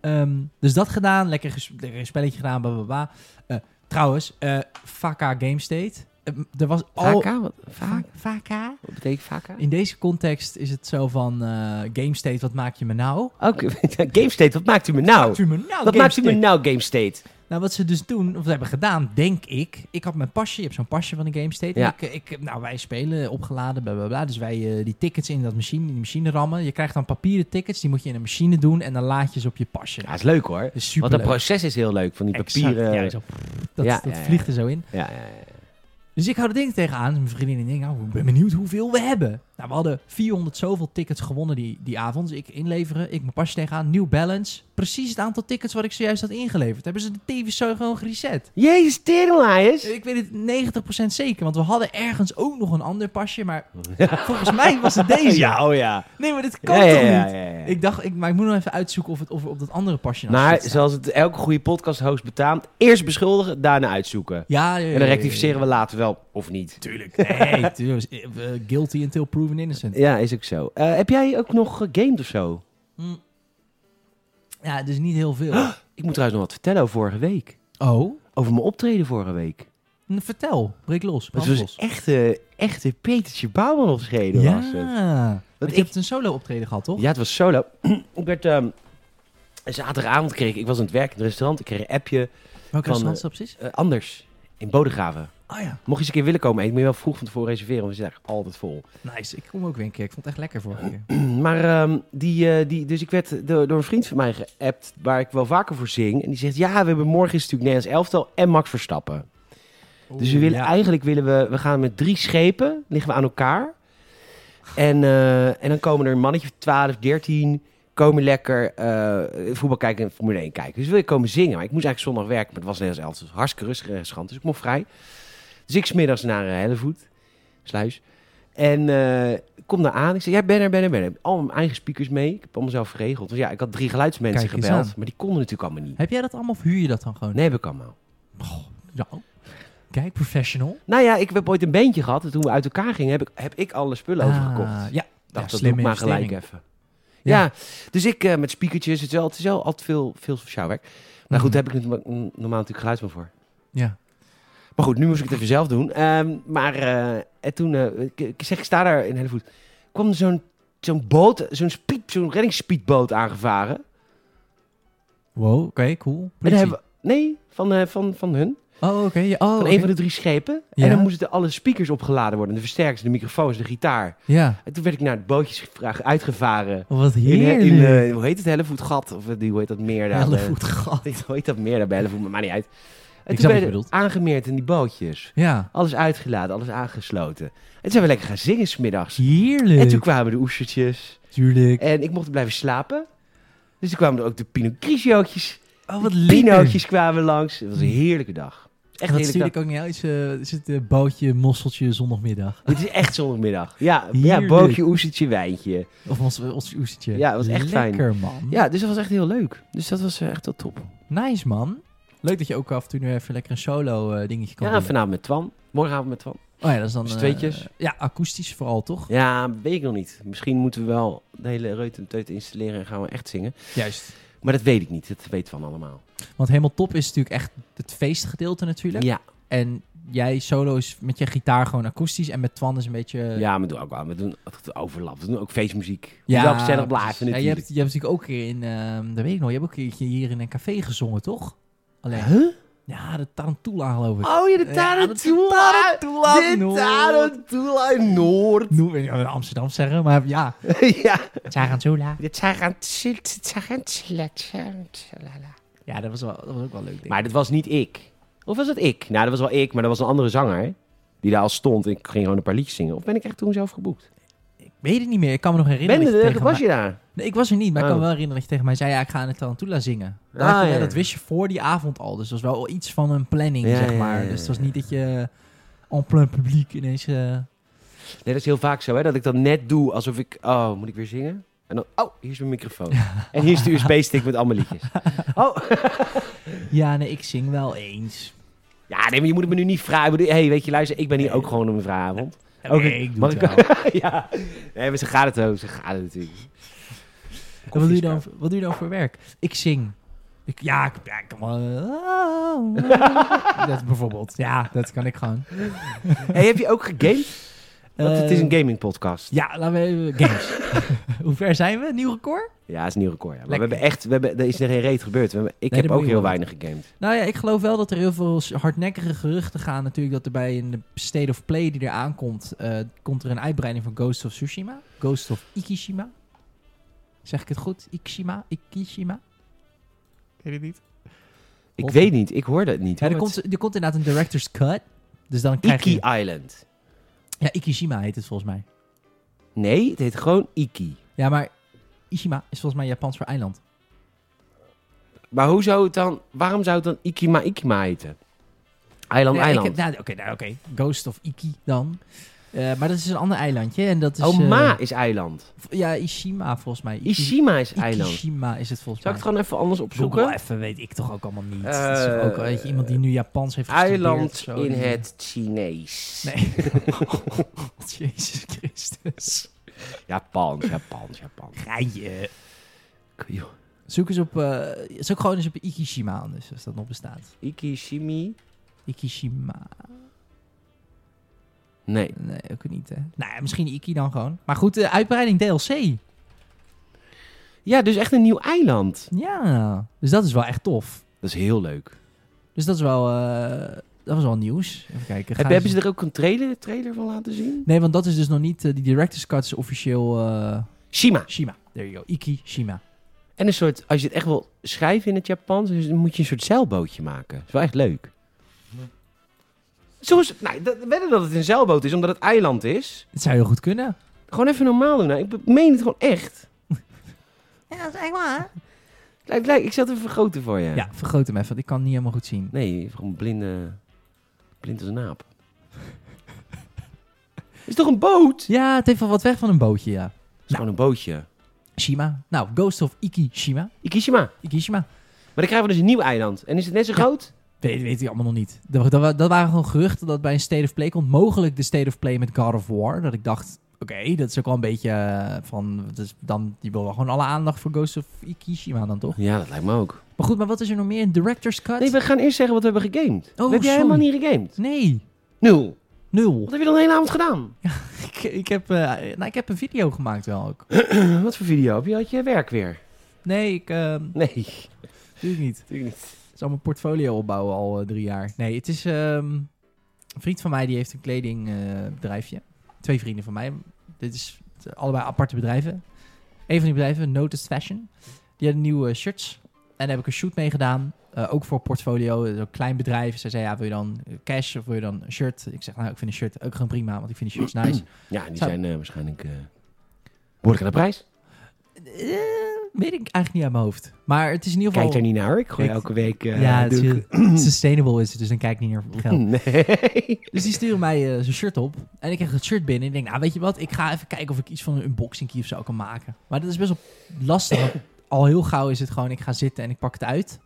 Speaker 2: Ehm, dus dat gedaan. Lekker, ges- lekker een spelletje gedaan. Bla, bla, bla. Eh, trouwens, eh Vaka Game State. Eh, er was al...
Speaker 1: Vaka? Wat, Oh. vaak?
Speaker 2: Vaka?
Speaker 1: wat betekent vaka?
Speaker 2: In deze context is het zo van... eh, Game State, wat maak je me nou?
Speaker 1: Oké, <laughs> Game State, wat maakt u me nou?
Speaker 2: Maakt u me nou,
Speaker 1: Wat
Speaker 2: Game
Speaker 1: maakt u me
Speaker 2: State?
Speaker 1: nou, Game State?
Speaker 2: Nou, wat ze dus doen, of hebben gedaan, denk ik. Ik had mijn pasje, je hebt zo'n pasje van de Game State.
Speaker 1: Ja.
Speaker 2: En ik, ik, nou, wij spelen opgeladen, bla bla bla. Dus wij eh, die tickets in dat machine, in die machine rammen. Je krijgt dan papieren tickets, die moet je in een machine doen. En dan laat je ze op je pasje.
Speaker 1: Ja, is leuk hoor.
Speaker 2: Dat is
Speaker 1: Want dat
Speaker 2: superleuk.
Speaker 1: proces is heel leuk, van die
Speaker 2: Exact,
Speaker 1: papieren. eh,
Speaker 2: ja, zo, dat
Speaker 1: Ja,
Speaker 2: dat
Speaker 1: ja, ja.
Speaker 2: vliegt er zo in.
Speaker 1: Ja, ja, ja.
Speaker 2: Dus ik hou de ding tegenaan. Dus mijn vriendin en ik denk, nou, ik ben benieuwd hoeveel we hebben. Nou, we hadden 400 zoveel tickets gewonnen die, die avond. Dus ik inleveren, ik mijn pasje tegenaan, New Balance. Precies het aantal tickets wat ik zojuist had ingeleverd. Hebben ze de TV zo gewoon gereset.
Speaker 1: Jezus, teringlaaiers.
Speaker 2: Ik weet het 90% zeker, want we hadden ergens ook nog een ander
Speaker 1: <laughs>
Speaker 2: pasje, maar volgens mij was het deze.
Speaker 1: Ja, oh ja.
Speaker 2: Nee, maar dit kan
Speaker 1: ja, ja,
Speaker 2: toch
Speaker 1: ja,
Speaker 2: niet?
Speaker 1: ja, ja.
Speaker 2: Ik dacht, ik, maar ik moet nog even uitzoeken of het, of er op dat andere pasje nou
Speaker 1: Maar
Speaker 2: zit staat.
Speaker 1: zoals het elke goede podcast-host betaamt, eerst beschuldigen, daarna uitzoeken.
Speaker 2: Ja, ja, ja,
Speaker 1: En
Speaker 2: ja,
Speaker 1: dan
Speaker 2: ja,
Speaker 1: rectificeren we later wel, of niet.
Speaker 2: Tuurlijk. Nee, <laughs> tuurlijk. Eh, guilty until proven innocent.
Speaker 1: Ja, is ook zo. Eh, heb jij ook nog eh, gamed of zo?
Speaker 2: Ja, dus niet heel veel.
Speaker 1: <gasps> Ik moet trouwens nog wat vertellen over vorige week.
Speaker 2: Oh,
Speaker 1: Over mijn optreden vorige week.
Speaker 2: nou, vertel. Breek los.
Speaker 1: Het
Speaker 2: brand
Speaker 1: was
Speaker 2: los.
Speaker 1: echt een echte Petertje Bouwman optreden
Speaker 2: Ja,
Speaker 1: was het.
Speaker 2: want
Speaker 1: ik-
Speaker 2: je hebt een solo optreden gehad, toch?
Speaker 1: Ja, het was solo. <clears throat> ik werd... ehm, zaterdagavond kreeg ik... Ik was aan het werk in het restaurant. Ik kreeg een appje.
Speaker 2: Welke
Speaker 1: Van,
Speaker 2: restaurant is dat precies?
Speaker 1: eh, anders. In Bodegraven.
Speaker 2: Oh ja,
Speaker 1: Mocht je eens een keer willen komen eten, moet je wel vroeg van tevoren reserveren. Want ze zijn echt altijd vol.
Speaker 2: nice. Ik kom ook weer een keer. Ik vond het echt lekker
Speaker 1: Oh.
Speaker 2: vorige keer.
Speaker 1: <clears throat> Maar ehm, die, eh, die, dus ik werd door, door een vriend van mij geappt, waar ik wel vaker voor zing. En die zegt, ja, we hebben morgen is natuurlijk Nederlands elftal en Max Verstappen. dus we
Speaker 2: Oeh,
Speaker 1: willen,
Speaker 2: Oh, ja.
Speaker 1: eigenlijk willen we, we gaan met drie schepen, liggen we aan elkaar. En, eh, en dan komen er een mannetje of 12, 13, komen lekker eh, voetbal kijken en Formule 1 kijken. Dus wil ik komen zingen, maar ik moest eigenlijk zondag werken. Maar het was Nederlands elftal, dus hartstikke rustig en restaurant, dus ik mocht vrij. Dus ik smiddags naar eh, Hellevoet, sluis. En eh, ik kom daar aan. Ik zeg, ja, ben er, ben er, ben er. Al mijn eigen speakers mee. Ik heb het allemaal zelf geregeld. Want ja, ik had drie geluidsmensen
Speaker 2: Kijk eens
Speaker 1: gebeld.
Speaker 2: aan.
Speaker 1: Maar die konden natuurlijk allemaal niet.
Speaker 2: Heb jij dat allemaal of huur je dat dan gewoon?
Speaker 1: Nee, heb ik allemaal.
Speaker 2: Nou, kijk, professional.
Speaker 1: Nou ja, ik heb ooit een beentje gehad. En toen we uit elkaar gingen, heb ik, heb ik alle spullen
Speaker 2: Ah,
Speaker 1: overgekocht.
Speaker 2: Ja,
Speaker 1: Ik dacht,
Speaker 2: ja,
Speaker 1: dat doe ik
Speaker 2: slimme
Speaker 1: maar gelijk even.
Speaker 2: investering.
Speaker 1: Ja.
Speaker 2: Ja.
Speaker 1: dus ik eh, met speakertjes. Het is wel, het is wel altijd veel, veel sjouwwerk. Maar goed,
Speaker 2: Mhm.
Speaker 1: daar heb ik natuurlijk normaal natuurlijk geluidsman voor.
Speaker 2: ja.
Speaker 1: Maar goed, nu moest ik het even zelf doen. Ehm, maar eh, en toen, eh, ik, ik zeg, ik sta daar in Hellevoet. kwam er zo'n zo'n boot, zo'n speed, zo'n reddingsspeedboot aangevaren.
Speaker 2: Wow, oké, cool.
Speaker 1: En dan
Speaker 2: Politie.
Speaker 1: hebben we- nee, van, eh, van, van hun.
Speaker 2: Oh, oké. ja, oh,
Speaker 1: van
Speaker 2: oké.
Speaker 1: een van de drie schepen.
Speaker 2: Ja.
Speaker 1: En dan moesten alle speakers opgeladen worden. De versterkers, de microfoons, de gitaar.
Speaker 2: Ja,
Speaker 1: En toen werd ik naar het bootjes gevraagd, uitgevaren.
Speaker 2: wat
Speaker 1: In,
Speaker 2: heerlijk.
Speaker 1: in eh, hoe heet het, Hellevoetgat? Of eh, die, hoe heet dat meer daar?
Speaker 2: Hele
Speaker 1: Eh, <laughs>
Speaker 2: goed gat.
Speaker 1: hoe heet dat meer daar bij Hellevoet? Maar maakt niet uit. En toen
Speaker 2: Ik snap wat je
Speaker 1: werden we
Speaker 2: bedoelt.
Speaker 1: aangemeerd in die bootjes.
Speaker 2: Ja,
Speaker 1: Alles uitgeladen, alles aangesloten. En toen zijn we lekker gaan zingen smiddags.
Speaker 2: heerlijk.
Speaker 1: En toen kwamen de oestertjes.
Speaker 2: Tuurlijk.
Speaker 1: En ik mocht blijven slapen. Dus toen kwamen er ook de pinocchiootjes.
Speaker 2: Oh, wat
Speaker 1: Pinootjes kwamen langs. Het was een heerlijke dag. Echt
Speaker 2: Echt dat
Speaker 1: een heerlijke
Speaker 2: stuur
Speaker 1: dag.
Speaker 2: ik ook niet uit. eh, Is het eh, bootje, mosseltje, zondagmiddag?
Speaker 1: Dit is echt zondagmiddag. Ja, ja
Speaker 2: Heerlijk.
Speaker 1: bootje, oestertje, wijntje.
Speaker 2: Of ons, ons oestertje.
Speaker 1: Ja, was echt fijn.
Speaker 2: Lekker, man.
Speaker 1: Ja, dus dat was echt heel leuk. Dus dat was eh, echt wel top.
Speaker 2: Nice, man. Leuk dat je ook af en toe nu even lekker een solo eh, dingetje kan
Speaker 1: Ja,
Speaker 2: doen.
Speaker 1: vanavond met Twan. Morgenavond met Twan.
Speaker 2: Oh ja, dat is dan...
Speaker 1: Dus
Speaker 2: eh,
Speaker 1: tweetjes.
Speaker 2: ja, akoestisch vooral, toch?
Speaker 1: Ja, weet ik nog niet. Misschien moeten we wel de hele reut en teut installeren en gaan we echt zingen.
Speaker 2: Juist.
Speaker 1: Maar dat weet ik niet. Dat weet Twan allemaal.
Speaker 2: Want helemaal top is natuurlijk echt het feestgedeelte natuurlijk.
Speaker 1: Ja,
Speaker 2: En jij solo is met je gitaar gewoon akoestisch. En met Twan is een beetje... eh,
Speaker 1: ja, maar we doen ook wel. We doen het overlap. We doen ook feestmuziek. Eh. Ja, wel gezellig blijven
Speaker 2: Ja, je,
Speaker 1: natuurlijk.
Speaker 2: hebt, je hebt natuurlijk ook een keer in... ehm dat weet ik nog. Je hebt ook een keertje hier in een café gezongen, toch? Alleen.
Speaker 1: Huh?
Speaker 2: Ja, de Tarantula geloof ik.
Speaker 1: Oh, je de
Speaker 2: Ja,
Speaker 1: Tarantula.
Speaker 2: Tarantula
Speaker 1: de
Speaker 2: Noord.
Speaker 1: Tarantula <laughs> Noord.
Speaker 2: Noem ik in Amsterdam zeggen, maar ja.
Speaker 1: ja.
Speaker 2: Tarantula.
Speaker 1: Dit zijn gaan het zijn gaan sletsen. Tjalala.
Speaker 2: Ja, dat was, wel, dat was ook wel leuk. Denk ik.
Speaker 1: Maar dat was niet ik. Of was dat ik? Nou, dat was wel ik, maar dat was een andere zanger. Die daar al stond. Ik ging gewoon een paar liedjes zingen. Of ben ik echt toen zelf geboekt?
Speaker 2: ik weet het niet meer. Ik kan me nog herinneren.
Speaker 1: Ben
Speaker 2: dat je
Speaker 1: je er?
Speaker 2: tegen
Speaker 1: Was
Speaker 2: mij-
Speaker 1: je daar?
Speaker 2: Nee, ik was er niet, maar ik
Speaker 1: Oh.
Speaker 2: kan me wel herinneren dat je tegen mij zei... Ja, ik ga aan de Tarantula zingen.
Speaker 1: Ah,
Speaker 2: Daar had je-
Speaker 1: ja.
Speaker 2: ja, Dat wist je voor die avond al. Dus dat was wel iets van een planning,
Speaker 1: Ja, ja,
Speaker 2: zeg
Speaker 1: ja,
Speaker 2: maar.
Speaker 1: ja,
Speaker 2: Dus het
Speaker 1: ja.
Speaker 2: was niet dat je en plein publiek ineens... eh,
Speaker 1: Nee, dat is heel vaak zo, hè? Dat ik dat net doe alsof ik... Oh, moet ik weer zingen? En dan, oh, hier is mijn microfoon. En hier is de USB-stick met allemaal liedjes. Oh,
Speaker 2: Ja, nee, ik zing wel eens.
Speaker 1: ja, nee, maar je moet het me nu niet vragen. Ik bedoel, hey, weet je, luister, ik ben hier
Speaker 2: Nee.
Speaker 1: ook gewoon om een vragenavond.
Speaker 2: Oké,
Speaker 1: Ook-
Speaker 2: ik doe
Speaker 1: mag
Speaker 2: het
Speaker 1: ik-
Speaker 2: wel.
Speaker 1: <laughs> ja, nee, maar ze gaat het ook, ze gaat het natuurlijk.
Speaker 2: En wat, doe je dan, wat doe je dan voor werk? Ik zing. Ik, ja, ik, ja, ik kan
Speaker 1: <laughs>
Speaker 2: wel- dat bijvoorbeeld. Ja, dat kan ik gewoon.
Speaker 1: Hey, heb je ook gegamed?
Speaker 2: <laughs>
Speaker 1: Want het is een
Speaker 2: Eh,
Speaker 1: gaming podcast.
Speaker 2: Ja, laten we
Speaker 1: <laughs>
Speaker 2: even... Games. <laughs> Hoe ver zijn we? Nieuw record?
Speaker 1: Ja, is een nieuw record. Ja. Maar
Speaker 2: Lekker.
Speaker 1: we hebben echt, we hebben, er is er geen reet gebeurd. We hebben- ik
Speaker 2: Nee,
Speaker 1: heb
Speaker 2: dat
Speaker 1: ook
Speaker 2: moet je
Speaker 1: heel
Speaker 2: wel.
Speaker 1: weinig gegamed.
Speaker 2: Nou ja, ik geloof wel dat er heel veel s- hardnekkige geruchten gaan. Natuurlijk dat er bij een State of Play die er aankomt... eh, komt er een uitbreiding van Ghost of Tsushima. Ghost of Ikishima. Zeg ik het goed? Ikishima? Ikishima? Ik weet het niet.
Speaker 1: Ik
Speaker 2: Of-
Speaker 1: weet niet, ik hoorde het niet.
Speaker 2: Ja, er,
Speaker 1: hoor.
Speaker 2: komt, er komt inderdaad een director's cut. Dus dan
Speaker 1: Het-
Speaker 2: krijg
Speaker 1: Iki
Speaker 2: je...
Speaker 1: Island.
Speaker 2: Ja, Ikishima heet het volgens mij.
Speaker 1: Nee, het heet gewoon Iki.
Speaker 2: Ja, maar Ishima is volgens mij Japans voor eiland.
Speaker 1: Maar hoe zou het dan, waarom zou het dan Ikima Ikima heten? Eiland
Speaker 2: Ja, ik
Speaker 1: Oh, Eiland.
Speaker 2: heb- nou, Oké, nou, oké. Ghost of Iki dan. Eh, maar dat is een ander eilandje. En dat is,
Speaker 1: oh,
Speaker 2: eh,
Speaker 1: Ma is eiland.
Speaker 2: v- ja, Ishima volgens mij. Iki-
Speaker 1: Ishima is eiland.
Speaker 2: Ikishima is het volgens
Speaker 1: Zou ik
Speaker 2: mij.
Speaker 1: het gewoon even anders
Speaker 2: Google
Speaker 1: opzoeken?
Speaker 2: even weet ik toch ook allemaal niet.
Speaker 1: Eh,
Speaker 2: Het is toch ook, weet je, iemand die nu Japans heeft gestudeerd of
Speaker 1: Eiland
Speaker 2: zo,
Speaker 1: in
Speaker 2: die-
Speaker 1: het Chinees.
Speaker 2: Nee. <laughs> Jezus Christus.
Speaker 1: Japans, Japans,
Speaker 2: <laughs>
Speaker 1: Japans.
Speaker 2: Rijden.
Speaker 1: Joh.
Speaker 2: Zoek eens op... eh zoek gewoon eens op Ikishima anders, als dat nog bestaat.
Speaker 1: Ikishimi?
Speaker 2: Ikishima.
Speaker 1: Nee.
Speaker 2: Nee, ook niet, hè. Nou ja, misschien Iki dan gewoon. Maar goed, de uitbreiding DLC.
Speaker 1: Ja, dus echt een nieuw eiland.
Speaker 2: Ja, dus dat is wel echt tof.
Speaker 1: Dat is heel leuk.
Speaker 2: Dus dat is wel, eh, dat was wel nieuws. Even
Speaker 1: Heb,
Speaker 2: kijken. gaan
Speaker 1: hebben
Speaker 2: ze-
Speaker 1: ze er ook een trailer, trailer van laten zien?
Speaker 2: Nee, want dat is dus nog niet... eh, die director's cut is officieel eh,
Speaker 1: Shima.
Speaker 2: Shima. There you go. Iki Shima.
Speaker 1: En een soort, als je het echt wil schrijven in het Japans, dus dan moet je een soort zeilbootje maken. Dat is wel echt leuk. Zoals, nou, dat, wedden dat het een zeilboot is, omdat het eiland is.
Speaker 2: Het zou heel goed kunnen.
Speaker 1: Gewoon even normaal doen. nou. Ik be- meen het gewoon echt.
Speaker 3: Ja, dat is echt waar.
Speaker 1: Kijk, kijk, ik zal het even vergroten voor je.
Speaker 2: Ja, vergroot hem even, want ik kan het niet helemaal goed zien.
Speaker 1: Nee, gewoon blinde, blind als een aap. Het is toch een boot? Het
Speaker 2: Ja, het heeft wel wat weg van een bootje, ja.
Speaker 1: is gewoon een bootje.
Speaker 2: Shima. Nou, Ghost of Iki Shima.
Speaker 1: Ikishima.
Speaker 2: Ikishima.
Speaker 1: Maar dan krijgen we dus een nieuw eiland. En is het net zo
Speaker 2: Ja.
Speaker 1: groot?
Speaker 2: Weet, weet ik allemaal nog niet. Dat, dat, wa- dat waren gewoon geruchten dat bij een State of Play komt. Mogelijk de State of Play met God of War. Dat ik dacht, oké, dat is ook wel een beetje eh, van... Dus dan, die wil wel gewoon alle aandacht voor Ghost of Ikishima dan toch?
Speaker 1: Ja, dat lijkt me ook.
Speaker 2: Maar goed, maar wat is er nog meer? Een director's cut?
Speaker 1: Nee, we gaan eerst zeggen wat we hebben gegamed.
Speaker 2: Oh,
Speaker 1: we hebben jij
Speaker 2: sorry.
Speaker 1: helemaal niet gegamed.
Speaker 2: Nee,
Speaker 1: Nul.
Speaker 2: nul. <laughs>
Speaker 1: Wat heb je dan de hele avond gedaan?
Speaker 2: Ik, ik, heb, eh, nou, ik heb een video gemaakt wel ook.
Speaker 1: Wat voor video heb je? Had je werk weer?
Speaker 2: Nee, ik eh,
Speaker 1: Nee,
Speaker 2: doe het niet.
Speaker 1: natuurlijk niet.
Speaker 2: Het is al mijn portfolio opbouwen al eh, drie jaar. Nee, het is... ehm, een vriend van mij die heeft een kledingbedrijfje. Twee vrienden van mij. Dit is eh, allebei aparte bedrijven. Een van die bedrijven, Noticed Fashion. Die hadden nieuwe shirts. En daar heb ik een shoot mee gedaan. eh, ook voor portfolio. Een klein bedrijf. Zij zei, ja, wil je dan cash of wil je dan een shirt? Ik zeg, nou, ik vind een shirt ook gewoon prima. Want ik vind die shirts nice.
Speaker 1: Ja, die
Speaker 2: Zou-
Speaker 1: zijn eh, waarschijnlijk... eh Word ik aan de prijs?
Speaker 2: Eh, weet ik eigenlijk niet uit mijn hoofd. Maar het is in ieder geval...
Speaker 1: Kijk daar niet naar. hoor. Ik gooi
Speaker 2: Ik-
Speaker 1: elke week... eh,
Speaker 2: ja, het is
Speaker 1: doe ik-
Speaker 2: heel- <clears throat> sustainable is het. Dus dan kijk ik niet naar
Speaker 1: <clears throat>
Speaker 2: geld.
Speaker 1: <laughs> Nee.
Speaker 2: Dus die stuurde mij eh, zijn shirt op. En ik kreeg het shirt binnen. En ik denk, nou weet je wat, ik ga even kijken of ik iets van een unboxing of zo kan maken. Maar dat is best wel lastig. want al heel gauw is het gewoon, ik ga zitten en ik pak het uit.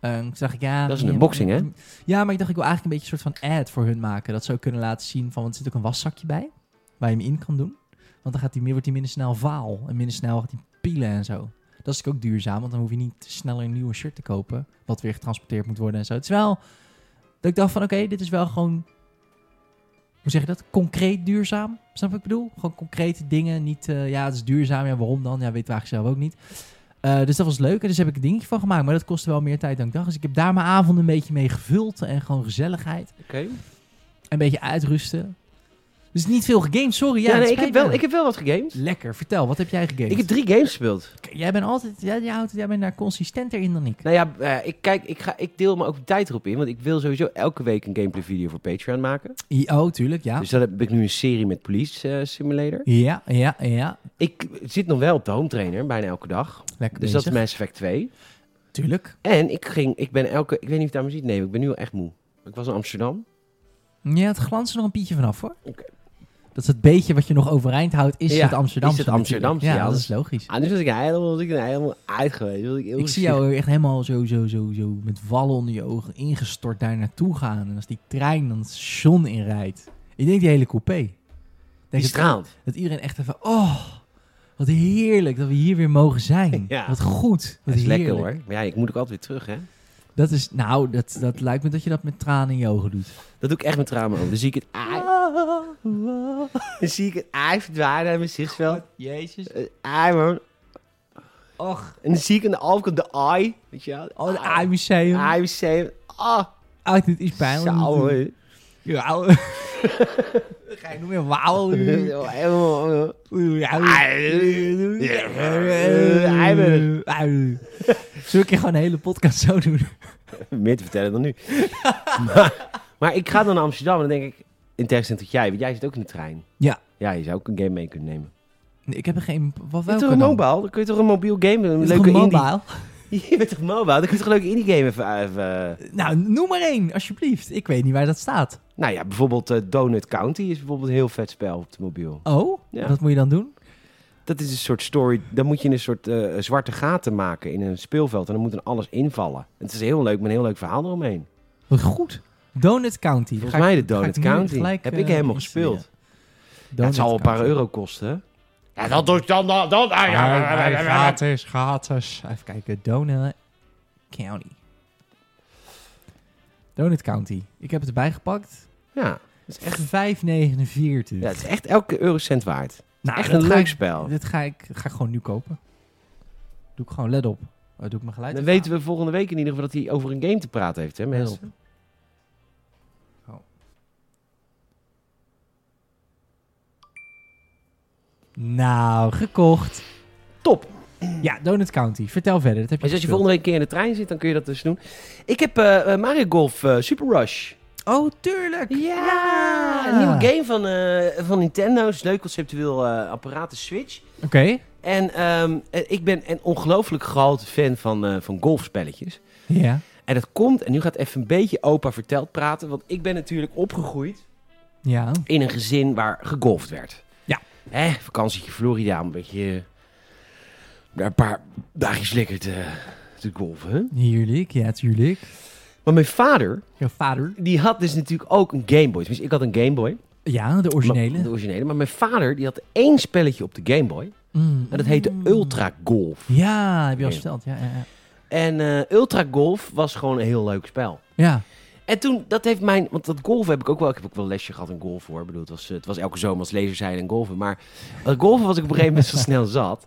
Speaker 2: Eh, toen dacht ik, ja...
Speaker 1: Dat is een
Speaker 2: ja,
Speaker 1: unboxing, hè?
Speaker 2: Ja, maar ik dacht, ik wil eigenlijk een beetje een soort van ad voor hun maken. Dat ze ook kunnen laten zien van, want er zit ook een waszakje bij. Waar je hem in kan doen. Want dan gaat die, wordt hij minder snel vaal. En minder snel gaat hij pielen en zo. Dat is natuurlijk ook duurzaam, want dan hoef je niet sneller een nieuwe shirt te kopen. Wat weer getransporteerd moet worden en zo. Het is wel dat ik dacht van, oké, dit is wel gewoon... Hoe zeg je dat? Concreet duurzaam. Snap wat ik bedoel? Gewoon concrete dingen. Niet, eh, ja, het is duurzaam. Ja, waarom dan? Ja, weet we eigenlijk zelf ook niet. Eh, dus dat was leuk. En dus heb ik een dingetje van gemaakt. Maar dat kostte wel meer tijd dan ik dacht. Dus ik heb daar mijn avond een beetje mee gevuld. En gewoon gezelligheid.
Speaker 1: Oké.
Speaker 2: Een beetje uitrusten. Dus niet veel gegamed, sorry. Ja,
Speaker 1: Ja,
Speaker 2: het
Speaker 1: nee, ik, heb
Speaker 2: spijt
Speaker 1: wel,
Speaker 2: me.
Speaker 1: ik heb wel wat gegamed.
Speaker 2: Lekker, vertel. Wat heb jij gegamed?
Speaker 1: Ik heb drie games gespeeld.
Speaker 2: Jij bent altijd... Jij, jij, houdt, jij bent daar consistenter in dan ik.
Speaker 1: Nou ja, eh, ik, kijk, ik, ga, ik deel me ook de tijd erop in. Want ik wil sowieso elke week een gameplay video voor Patreon maken.
Speaker 2: I- Oh, tuurlijk, ja.
Speaker 1: Dus dan heb ik nu een serie met Police eh, Simulator.
Speaker 2: Ja, ja, ja.
Speaker 1: Ik zit nog wel op de home trainer, bijna elke dag.
Speaker 2: Lekker
Speaker 1: Dus dat is
Speaker 2: bezig.
Speaker 1: Mass Effect 2.
Speaker 2: Tuurlijk.
Speaker 1: En ik ging, ik ben elke, ik weet niet of je het aan me ziet, nee, maar ik ben nu al echt moe. Ik was in Amsterdam.
Speaker 2: Ja, het glanst er nog een pietje vanaf, hoor. Dat is het beetje wat je nog overeind houdt, is
Speaker 1: Ja,
Speaker 2: het Amsterdamse.
Speaker 1: is het Amsterdamse,
Speaker 2: natuurlijk.
Speaker 1: ja,
Speaker 2: Ja, dat
Speaker 1: dat
Speaker 2: is logisch.
Speaker 1: Anders Ah, was ik helemaal, was ik er helemaal uit geweest. Was ik, heel
Speaker 2: Ik zie jou echt helemaal zo, zo, zo, zo met wallen onder je ogen ingestort daar naartoe gaan. En als die trein dan het station inrijdt. Ik denk die hele coupé. Ik
Speaker 1: Die
Speaker 2: Denk dat,
Speaker 1: straalt.
Speaker 2: dat iedereen echt even, oh, wat heerlijk dat we hier weer mogen zijn.
Speaker 1: Ja.
Speaker 2: Wat goed.
Speaker 1: Dat
Speaker 2: Wat
Speaker 1: is lekker
Speaker 2: heerlijk.
Speaker 1: hoor. Maar ja, ik moet ook altijd weer terug, hè.
Speaker 2: Dat is, nou, dat, dat lijkt me dat je dat met tranen in je ogen doet.
Speaker 1: Dat doe ik echt met trauma over. Dan zie ik het ei,
Speaker 2: Ah.
Speaker 1: <laughs> dan zie ik het ei verdwijnen uit mijn zichtsveld.
Speaker 2: Jezus.
Speaker 1: Het ei, man.
Speaker 2: Och,
Speaker 1: En dan zie ik aan de overkant de ei. Weet je wel?
Speaker 2: oh, het
Speaker 1: Ei.
Speaker 2: AI-museum.
Speaker 1: Ei museum. Ah,
Speaker 2: Uit, dit is pijnlijk.
Speaker 1: zo,
Speaker 2: <laughs>
Speaker 1: hè. <laughs>
Speaker 2: Ja, ouwe. Ga je nog meer wauwen?
Speaker 1: Helemaal,
Speaker 2: Zullen we een keer gewoon een hele podcast zo doen?
Speaker 1: eh, Meer te vertellen dan nu. <laughs> maar, maar ik ga dan naar Amsterdam en dan denk ik... In tegenstelling tot jij, want jij zit ook in de trein.
Speaker 2: Ja.
Speaker 1: Ja, je zou ook een game mee kunnen nemen.
Speaker 2: Nee, ik heb er geen... Wat
Speaker 1: Je hebt
Speaker 2: welke
Speaker 1: toch
Speaker 2: dan?
Speaker 1: een mobile? Dan kun je toch een mobiel game, een
Speaker 2: Is het
Speaker 1: leuke
Speaker 2: een
Speaker 1: indie...
Speaker 2: mobile?
Speaker 1: <laughs> Je bent toch mobile? Dan kun je toch een leuke indie game even... even- eh,
Speaker 2: Nou, noem maar één, alsjeblieft. Ik weet niet waar dat staat.
Speaker 1: Nou ja, bijvoorbeeld eh, Donut County is bijvoorbeeld een heel vet spel op de mobiel.
Speaker 2: Oh,
Speaker 1: Ja.
Speaker 2: wat moet je dan doen?
Speaker 1: Dat is een soort story. Dan moet je een soort eh, zwarte gaten maken in een speelveld. En dan moet dan alles invallen. En het is heel leuk, met een heel leuk verhaal eromheen.
Speaker 2: Wat goed. Donut County. Ga
Speaker 1: Volgens
Speaker 2: ik-
Speaker 1: mij de
Speaker 2: ga ik
Speaker 1: Donut
Speaker 2: nu
Speaker 1: County.
Speaker 2: gelijk,
Speaker 1: Heb
Speaker 2: eh,
Speaker 1: ik helemaal
Speaker 2: installeren.
Speaker 1: gespeeld. Ja, het zal al een paar
Speaker 2: Donut
Speaker 1: euro kosten. hè? Ja, dat doet dan... dan, dan ah, ja,
Speaker 2: County.
Speaker 1: ja, ja, ja, ja.
Speaker 2: Gratis, gratis. Even kijken. Donut County. Donut County. Ik heb het erbij gepakt.
Speaker 1: Ja,
Speaker 2: Het is echt 5,49.
Speaker 1: Ja, het is echt elke eurocent waard.
Speaker 2: Nou,
Speaker 1: echt
Speaker 2: dat
Speaker 1: een
Speaker 2: ga
Speaker 1: leuk
Speaker 2: ik-
Speaker 1: spel.
Speaker 2: Dit ga ik, ga ik gewoon nu kopen. Doe ik gewoon, let op. Oh, doe ik mijn geluid
Speaker 1: Dan weten we volgende week in ieder geval dat hij over een game te praten heeft, hè mensen?
Speaker 2: Oh. Nou, gekocht.
Speaker 1: Top!
Speaker 2: Ja, Donut County. Vertel verder. Dat heb je
Speaker 1: Dus als je
Speaker 2: gespeeld.
Speaker 1: volgende week een keer in de trein zit, dan kun je dat dus doen. Ik heb eh, eh, Mario Golf eh, Super Rush.
Speaker 2: Oh, tuurlijk.
Speaker 1: Een nieuwe game van, eh, van Nintendo. Het is een leuk conceptueel eh apparaat, de Switch.
Speaker 2: Oké.
Speaker 1: En ehm, eh, ik ben een ongelooflijk groot fan van, eh, van golfspelletjes.
Speaker 2: Ja.
Speaker 1: En dat komt, en nu gaat even een beetje opa verteld praten. Want ik ben natuurlijk opgegroeid
Speaker 2: Ja.
Speaker 1: in een gezin waar gegolfd werd.
Speaker 2: Ja.
Speaker 1: Hè, vakantietje Florida, een beetje... eh, daar een paar dagjes lekker te, te golfen. hè.
Speaker 2: Tuurlijk. Ja, tuurlijk.
Speaker 1: Maar mijn vader,
Speaker 2: Jouw vader.
Speaker 1: die had dus natuurlijk ook een Game Boy. Tenminste, ik had een Game Boy.
Speaker 2: Ja, de
Speaker 1: Maar, de
Speaker 2: originele.
Speaker 1: originele. Maar mijn vader die had één spelletje op de Game Boy.
Speaker 2: Mm.
Speaker 1: En dat heette Ultra Golf.
Speaker 2: Ja, heb je al
Speaker 1: Ja.
Speaker 2: verteld. Ja, ja, ja.
Speaker 1: En eh, Ultra Golf was gewoon een heel leuk spel.
Speaker 2: ja.
Speaker 1: En toen, dat heeft mijn... Want dat golf heb ik ook wel... Ik heb ook wel een lesje gehad in golf, hoor. Ik bedoel, het was, eh, het was elke zomer als lezer zijn en golven. Maar dat golven was ik op een gegeven moment zo snel zat.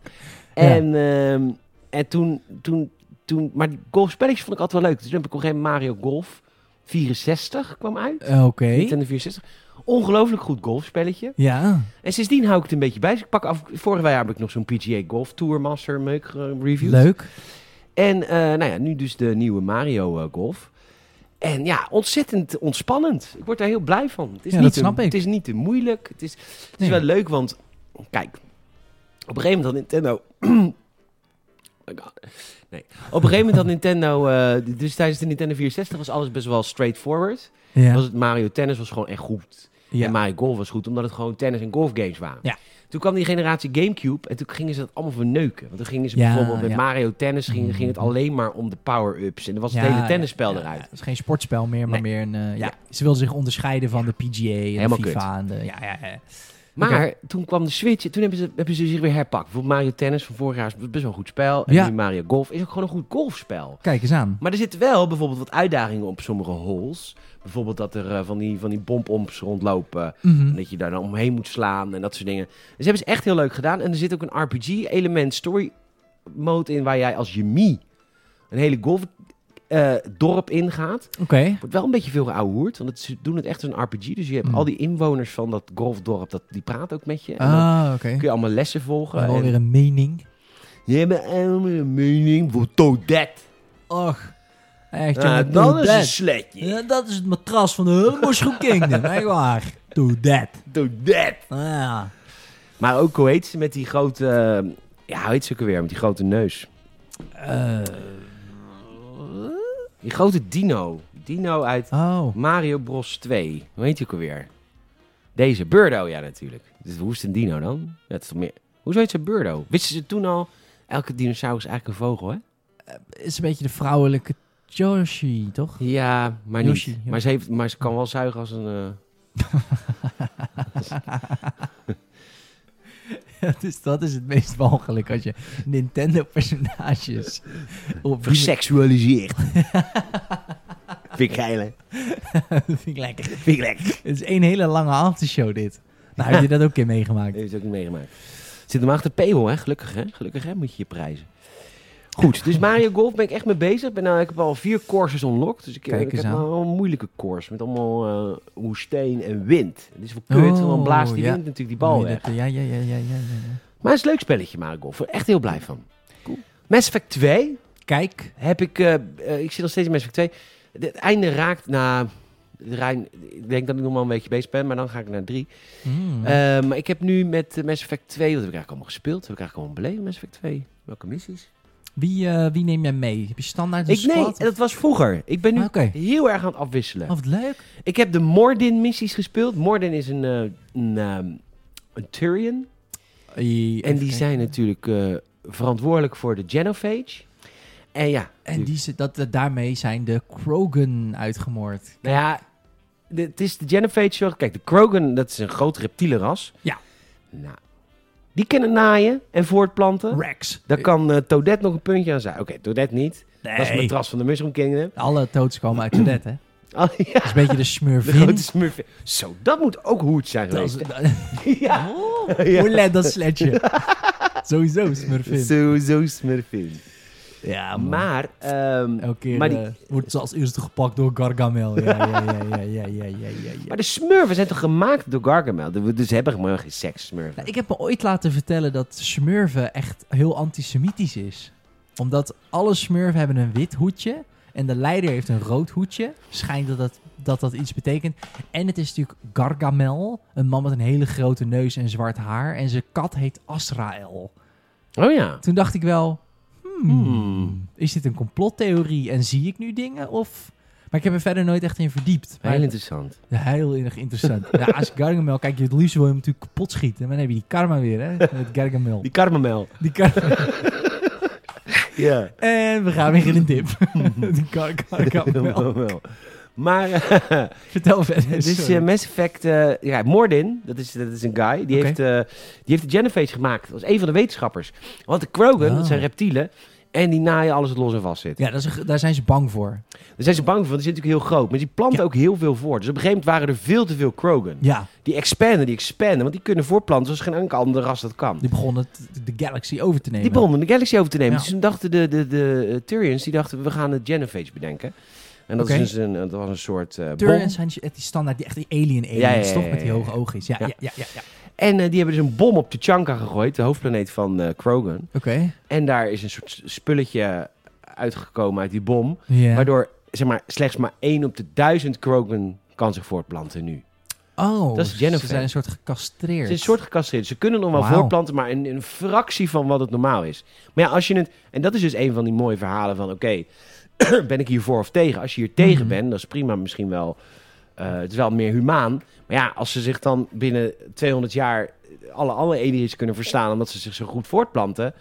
Speaker 1: En, ehm, en toen, toen, toen... Maar die golfspelletjes vond ik altijd wel leuk. Dus toen heb ik op een gegeven moment Mario Golf 64 kwam uit.
Speaker 2: Eh, Oké.
Speaker 1: Nintendo 64. Ongelooflijk goed golfspelletje.
Speaker 2: Ja.
Speaker 1: En sindsdien hou ik het een beetje bij. Dus ik pak af, vorig jaar heb ik nog zo'n PGA Golf Tour Master meuk eh, review.
Speaker 2: Leuk.
Speaker 1: En eh, nou ja, nu dus de nieuwe Mario eh, Golf. En ja, ontzettend ontspannend. Ik word daar heel blij van. Het is,
Speaker 2: Ja,
Speaker 1: niet,
Speaker 2: dat
Speaker 1: te,
Speaker 2: snap ik.
Speaker 1: Het is niet te moeilijk. Het is, het is
Speaker 2: Nee.
Speaker 1: wel leuk, want kijk, op een gegeven moment had Nintendo... <clears throat> Oh my God. Nee. Op een gegeven moment had Nintendo... eh, dus tijdens de Nintendo 64 was alles best wel straightforward.
Speaker 2: Ja.
Speaker 1: Was het Mario Tennis was gewoon echt goed.
Speaker 2: ja.
Speaker 1: En Mario Golf was goed, omdat het gewoon tennis- en golfgames waren.
Speaker 2: Ja.
Speaker 1: Toen kwam die generatie Gamecube en toen gingen ze dat allemaal verneuken. Want toen gingen ze
Speaker 2: Ja,
Speaker 1: bijvoorbeeld met
Speaker 2: ja. Mm.
Speaker 1: Mario Tennis ging, ging het alleen maar om de power-ups. En dan was het hele tennisspel
Speaker 2: ja, ja,
Speaker 1: eruit.
Speaker 2: het is geen sportspel meer, maar
Speaker 1: Nee.
Speaker 2: meer een... eh, ja.
Speaker 1: Ja.
Speaker 2: Ze wilden zich onderscheiden van de PGA en
Speaker 1: Helemaal
Speaker 2: de
Speaker 1: kut.
Speaker 2: FIFA. En de, ja, ja, ja.
Speaker 1: Maar
Speaker 2: Oké.
Speaker 1: toen kwam de Switch en toen hebben ze, hebben ze zich weer herpakt. Bijvoorbeeld Mario Tennis van vorig jaar is best wel een goed spel. En
Speaker 2: Ja.
Speaker 1: nu Mario Golf is ook gewoon een goed golfspel.
Speaker 2: Kijk eens aan.
Speaker 1: Maar er zitten wel bijvoorbeeld wat uitdagingen op sommige holes. Bijvoorbeeld dat er eh, van die, van die bompomps rondlopen. En
Speaker 2: Mhm.
Speaker 1: dat je daar dan omheen moet slaan en dat soort dingen. Dus hebben ze echt heel leuk gedaan. En er zit ook een RPG-element, story mode in, waar jij als Jimmy een hele golfdorp ingaat.
Speaker 2: Oké.
Speaker 1: Wordt wel een beetje veel geouwehoerd, want het, ze doen het echt als een RPG. Dus je hebt
Speaker 2: Hmm.
Speaker 1: al die inwoners van dat golfdorp, dat, die praten ook met je. En dan
Speaker 2: Ah, oké.
Speaker 1: kun je allemaal lessen volgen.
Speaker 2: Gewoon
Speaker 1: en
Speaker 2: weer een mening.
Speaker 1: Je hebt allemaal een mening voor Toadette.
Speaker 2: Och. Echt,
Speaker 1: Ah,
Speaker 2: jongen,
Speaker 1: dan
Speaker 2: do
Speaker 1: is een
Speaker 2: that.
Speaker 1: sletje.
Speaker 2: Ja, dat is het matras van de Humberschoen Kingdom. <laughs> Echt waar. Do that.
Speaker 1: Toadette.
Speaker 2: Ah, ja.
Speaker 1: Maar ook, hoe heet ze met die grote... eh, Ja, hoe heet ze ook alweer? Met die grote neus.
Speaker 2: Eh,
Speaker 1: Die grote dino. Dino uit
Speaker 2: oh.
Speaker 1: Mario Bros 2. Hoe heet die ook alweer? Deze, Burdo, ja natuurlijk. Dus hoe is het een dino dan? Dat is toch meer... Hoezo heet ze Burdo? Wisten ze toen al, elke dinosaurus is eigenlijk een vogel, hè?
Speaker 2: Is een beetje de vrouwelijke Yoshi, toch?
Speaker 1: Ja, maar niet.
Speaker 2: Yoshi, ja.
Speaker 1: Maar, ze heeft, maar ze kan wel zuigen als een... eh,
Speaker 2: dus <laughs> dat is het meest walgelijk als je
Speaker 1: <laughs>
Speaker 2: Nintendo-personages op die-
Speaker 1: verseksualiseerd. Vind ik geil, hè?
Speaker 2: <laughs> Dat vind ik lekker.
Speaker 1: Vind ik lekker.
Speaker 2: Het is één hele lange aftershow dit. Nou, heb je dat ook een keer meegemaakt?
Speaker 1: Heeft het ook niet meegemaakt. Zit hem achter paywall, hè? Gelukkig, hè? Gelukkig, hè? Moet je je prijzen. Goed, dus Mario Golf ben ik echt mee bezig. Ben, nou, ik heb al vier courses unlocked. Dus ik,
Speaker 2: Kijk
Speaker 1: ik
Speaker 2: eens
Speaker 1: heb
Speaker 2: aan.
Speaker 1: wel een moeilijke course. Met allemaal eh woestijn en wind. Het is wel kut,
Speaker 2: Oh,
Speaker 1: want blaast die
Speaker 2: ja.
Speaker 1: wind natuurlijk die <laughs> bal
Speaker 2: Moet je
Speaker 1: weg.
Speaker 2: dat- Ja, ja, ja, ja, ja, ja. ja.
Speaker 1: Maar het is een leuk spelletje, Mario Golf. Echt heel blij van. Mass Effect 2
Speaker 2: Kijk.
Speaker 1: heb ik... eh, eh, ik zit nog steeds in Mass Effect 2. Het einde raakt na... Rijn, ik denk dat ik nog wel een beetje bezig ben, maar dan ga ik naar 3.
Speaker 2: Mm.
Speaker 1: Eh, maar ik heb nu met eh, Mass Effect 2, wat heb ik eigenlijk allemaal gespeeld? Wat heb ik eigenlijk allemaal beleefd met Mass Effect 2? Welke missies?
Speaker 2: wie, eh, wie neem jij mee? Heb je standaard een
Speaker 1: Ik, nee,
Speaker 2: squad?
Speaker 1: dat was vroeger. Ik ben nu
Speaker 2: Ah, Oké.
Speaker 1: heel erg aan het afwisselen.
Speaker 2: Oh, wat leuk.
Speaker 1: Ik heb de Mordin-missies gespeeld. Mordin is een, eh, een, ehm, een Turian. En die zijn natuurlijk eh, verantwoordelijk voor de Genophage. En ja,
Speaker 2: En die, ze- dat, dat- daarmee zijn de Krogan uitgemoord.
Speaker 1: Nou ja, de- het is de Genophage. zorg- Kieek, de Krogan, dat is een groot reptielenras.
Speaker 2: Ja.
Speaker 1: Nou, die kunnen naaien en voortplanten.
Speaker 2: Rex.
Speaker 1: Daar kan eh Toadette nog een puntje aan zijn. Oké, Toadette niet.
Speaker 2: Nee.
Speaker 1: Dat is mijn tras van de Mushroom Kingdom. <laughs>
Speaker 2: Alle toods komen uit Tourette, hè?
Speaker 1: Oh, ja,
Speaker 2: Dat is een beetje de
Speaker 1: de
Speaker 2: smurfin.
Speaker 1: grote smurf. Zo, dat moet ook hoe het zijn
Speaker 2: <laughs> Dat
Speaker 1: geweest.
Speaker 2: is-
Speaker 1: <laughs> Ja.
Speaker 2: Oh,
Speaker 1: Ja.
Speaker 2: Oerlet, dat sletje. <laughs> Sowieso smurfin.
Speaker 1: Sowieso smurfin.
Speaker 2: Ja, man.
Speaker 1: Maar, ehm,
Speaker 2: Elke keer
Speaker 1: Maar die-
Speaker 2: eh, wordt ze als eerste gepakt door Gargamel. Ja, ja, ja, ja, ja, ja, ja, ja, ja.
Speaker 1: maar de smurfen zijn toch gemaakt door Gargamel? De- Dus ze hebben gewoon geen seks, smurfen.
Speaker 2: Nou, ik heb me ooit laten vertellen dat smurven echt heel antisemitisch is. Omdat alle smurven hebben een wit hoedje en de leider heeft een rood hoedje. Schijnt dat dat, dat, dat iets betekent. En het is natuurlijk Gargamel, een man met een hele grote neus en zwart haar. En zijn kat heet Azrael.
Speaker 1: Oh ja.
Speaker 2: Toen dacht ik wel, hmm,
Speaker 1: Hmm.
Speaker 2: is dit een complottheorie en zie ik nu dingen? Of... Maar ik heb er verder nooit echt in verdiept. Maar
Speaker 1: Heel interessant.
Speaker 2: Heel erg interessant. ja, als Gargamel, kijk, je het liefst wil je hem natuurlijk kapot schieten. Maar dan heb je die karma weer, hè? Met Gargamel.
Speaker 1: Die Gargamel.
Speaker 2: Die karma.
Speaker 1: Ja.
Speaker 2: <laughs> En we gaan weer in een dip.
Speaker 1: <laughs>
Speaker 2: die gar Gargamel.
Speaker 1: Gargamel. Maar, <laughs> eh,
Speaker 2: Vertel verder.
Speaker 1: Dus is
Speaker 2: sorry.
Speaker 1: eh, Mass Effect, eh, ja, Mordin, dat is, dat is een guy, die,
Speaker 2: Oké.
Speaker 1: heeft, eh, die heeft de Genophage gemaakt. Dat was een van de wetenschappers. Want de Krogan,
Speaker 2: Ah.
Speaker 1: dat zijn reptielen, en die naaien alles wat los en vast zit.
Speaker 2: ja, dat is, een- daar zijn ze bang voor.
Speaker 1: Daar zijn ze bang voor, want die zitten natuurlijk heel groot. Maar die planten
Speaker 2: Ja.
Speaker 1: ook heel veel voor. Dus op een gegeven moment waren er veel te veel Krogan.
Speaker 2: Ja,
Speaker 1: Die expanden, die expanden, want die kunnen voorplanten zoals geen enkel ander ras dat kan.
Speaker 2: die begonnen t- de galaxy over te nemen.
Speaker 1: Die begonnen de galaxy over te nemen.
Speaker 2: Ja.
Speaker 1: Dus toen dachten de, de, de eh, Turians, die dachten, we gaan de Genophage bedenken. En dat,
Speaker 2: Oké.
Speaker 1: is dus een, dat was een soort eh, bom.
Speaker 2: Turians zijn die, die standaard, die echt die alien aliens,
Speaker 1: Ja, ja, ja,
Speaker 2: toch? Met die
Speaker 1: ja, ja.
Speaker 2: hoge oogjes. Ja,
Speaker 1: Ja.
Speaker 2: ja, ja, ja. ja.
Speaker 1: En eh, die hebben dus een bom op T'Chanka gegooid, de hoofdplaneet van eh, Krogan.
Speaker 2: Oké.
Speaker 1: En daar is een soort spulletje uitgekomen uit die bom.
Speaker 2: Ja.
Speaker 1: Waardoor zeg maar, slechts maar één op de duizend Krogan kan zich voortplanten nu.
Speaker 2: Oh,
Speaker 1: Dat is Jennifer.
Speaker 2: ze zijn een soort
Speaker 1: Het
Speaker 2: gecastreerd.
Speaker 1: is een soort gecastreerd. Ze kunnen nog wel
Speaker 2: Wauw.
Speaker 1: voortplanten, maar een, een fractie van wat het normaal is. Maar ja, als je het... En dat is dus een van die mooie verhalen van... Oké, <clears throat> ben ik hier voor of tegen? Als je hier tegen
Speaker 2: Mhm.
Speaker 1: bent, dat is prima misschien wel... eh, het is wel meer humaan. Maar ja, als ze zich dan binnen 200 jaar... alle andere aliens kunnen verstaan omdat ze zich zo goed voortplanten...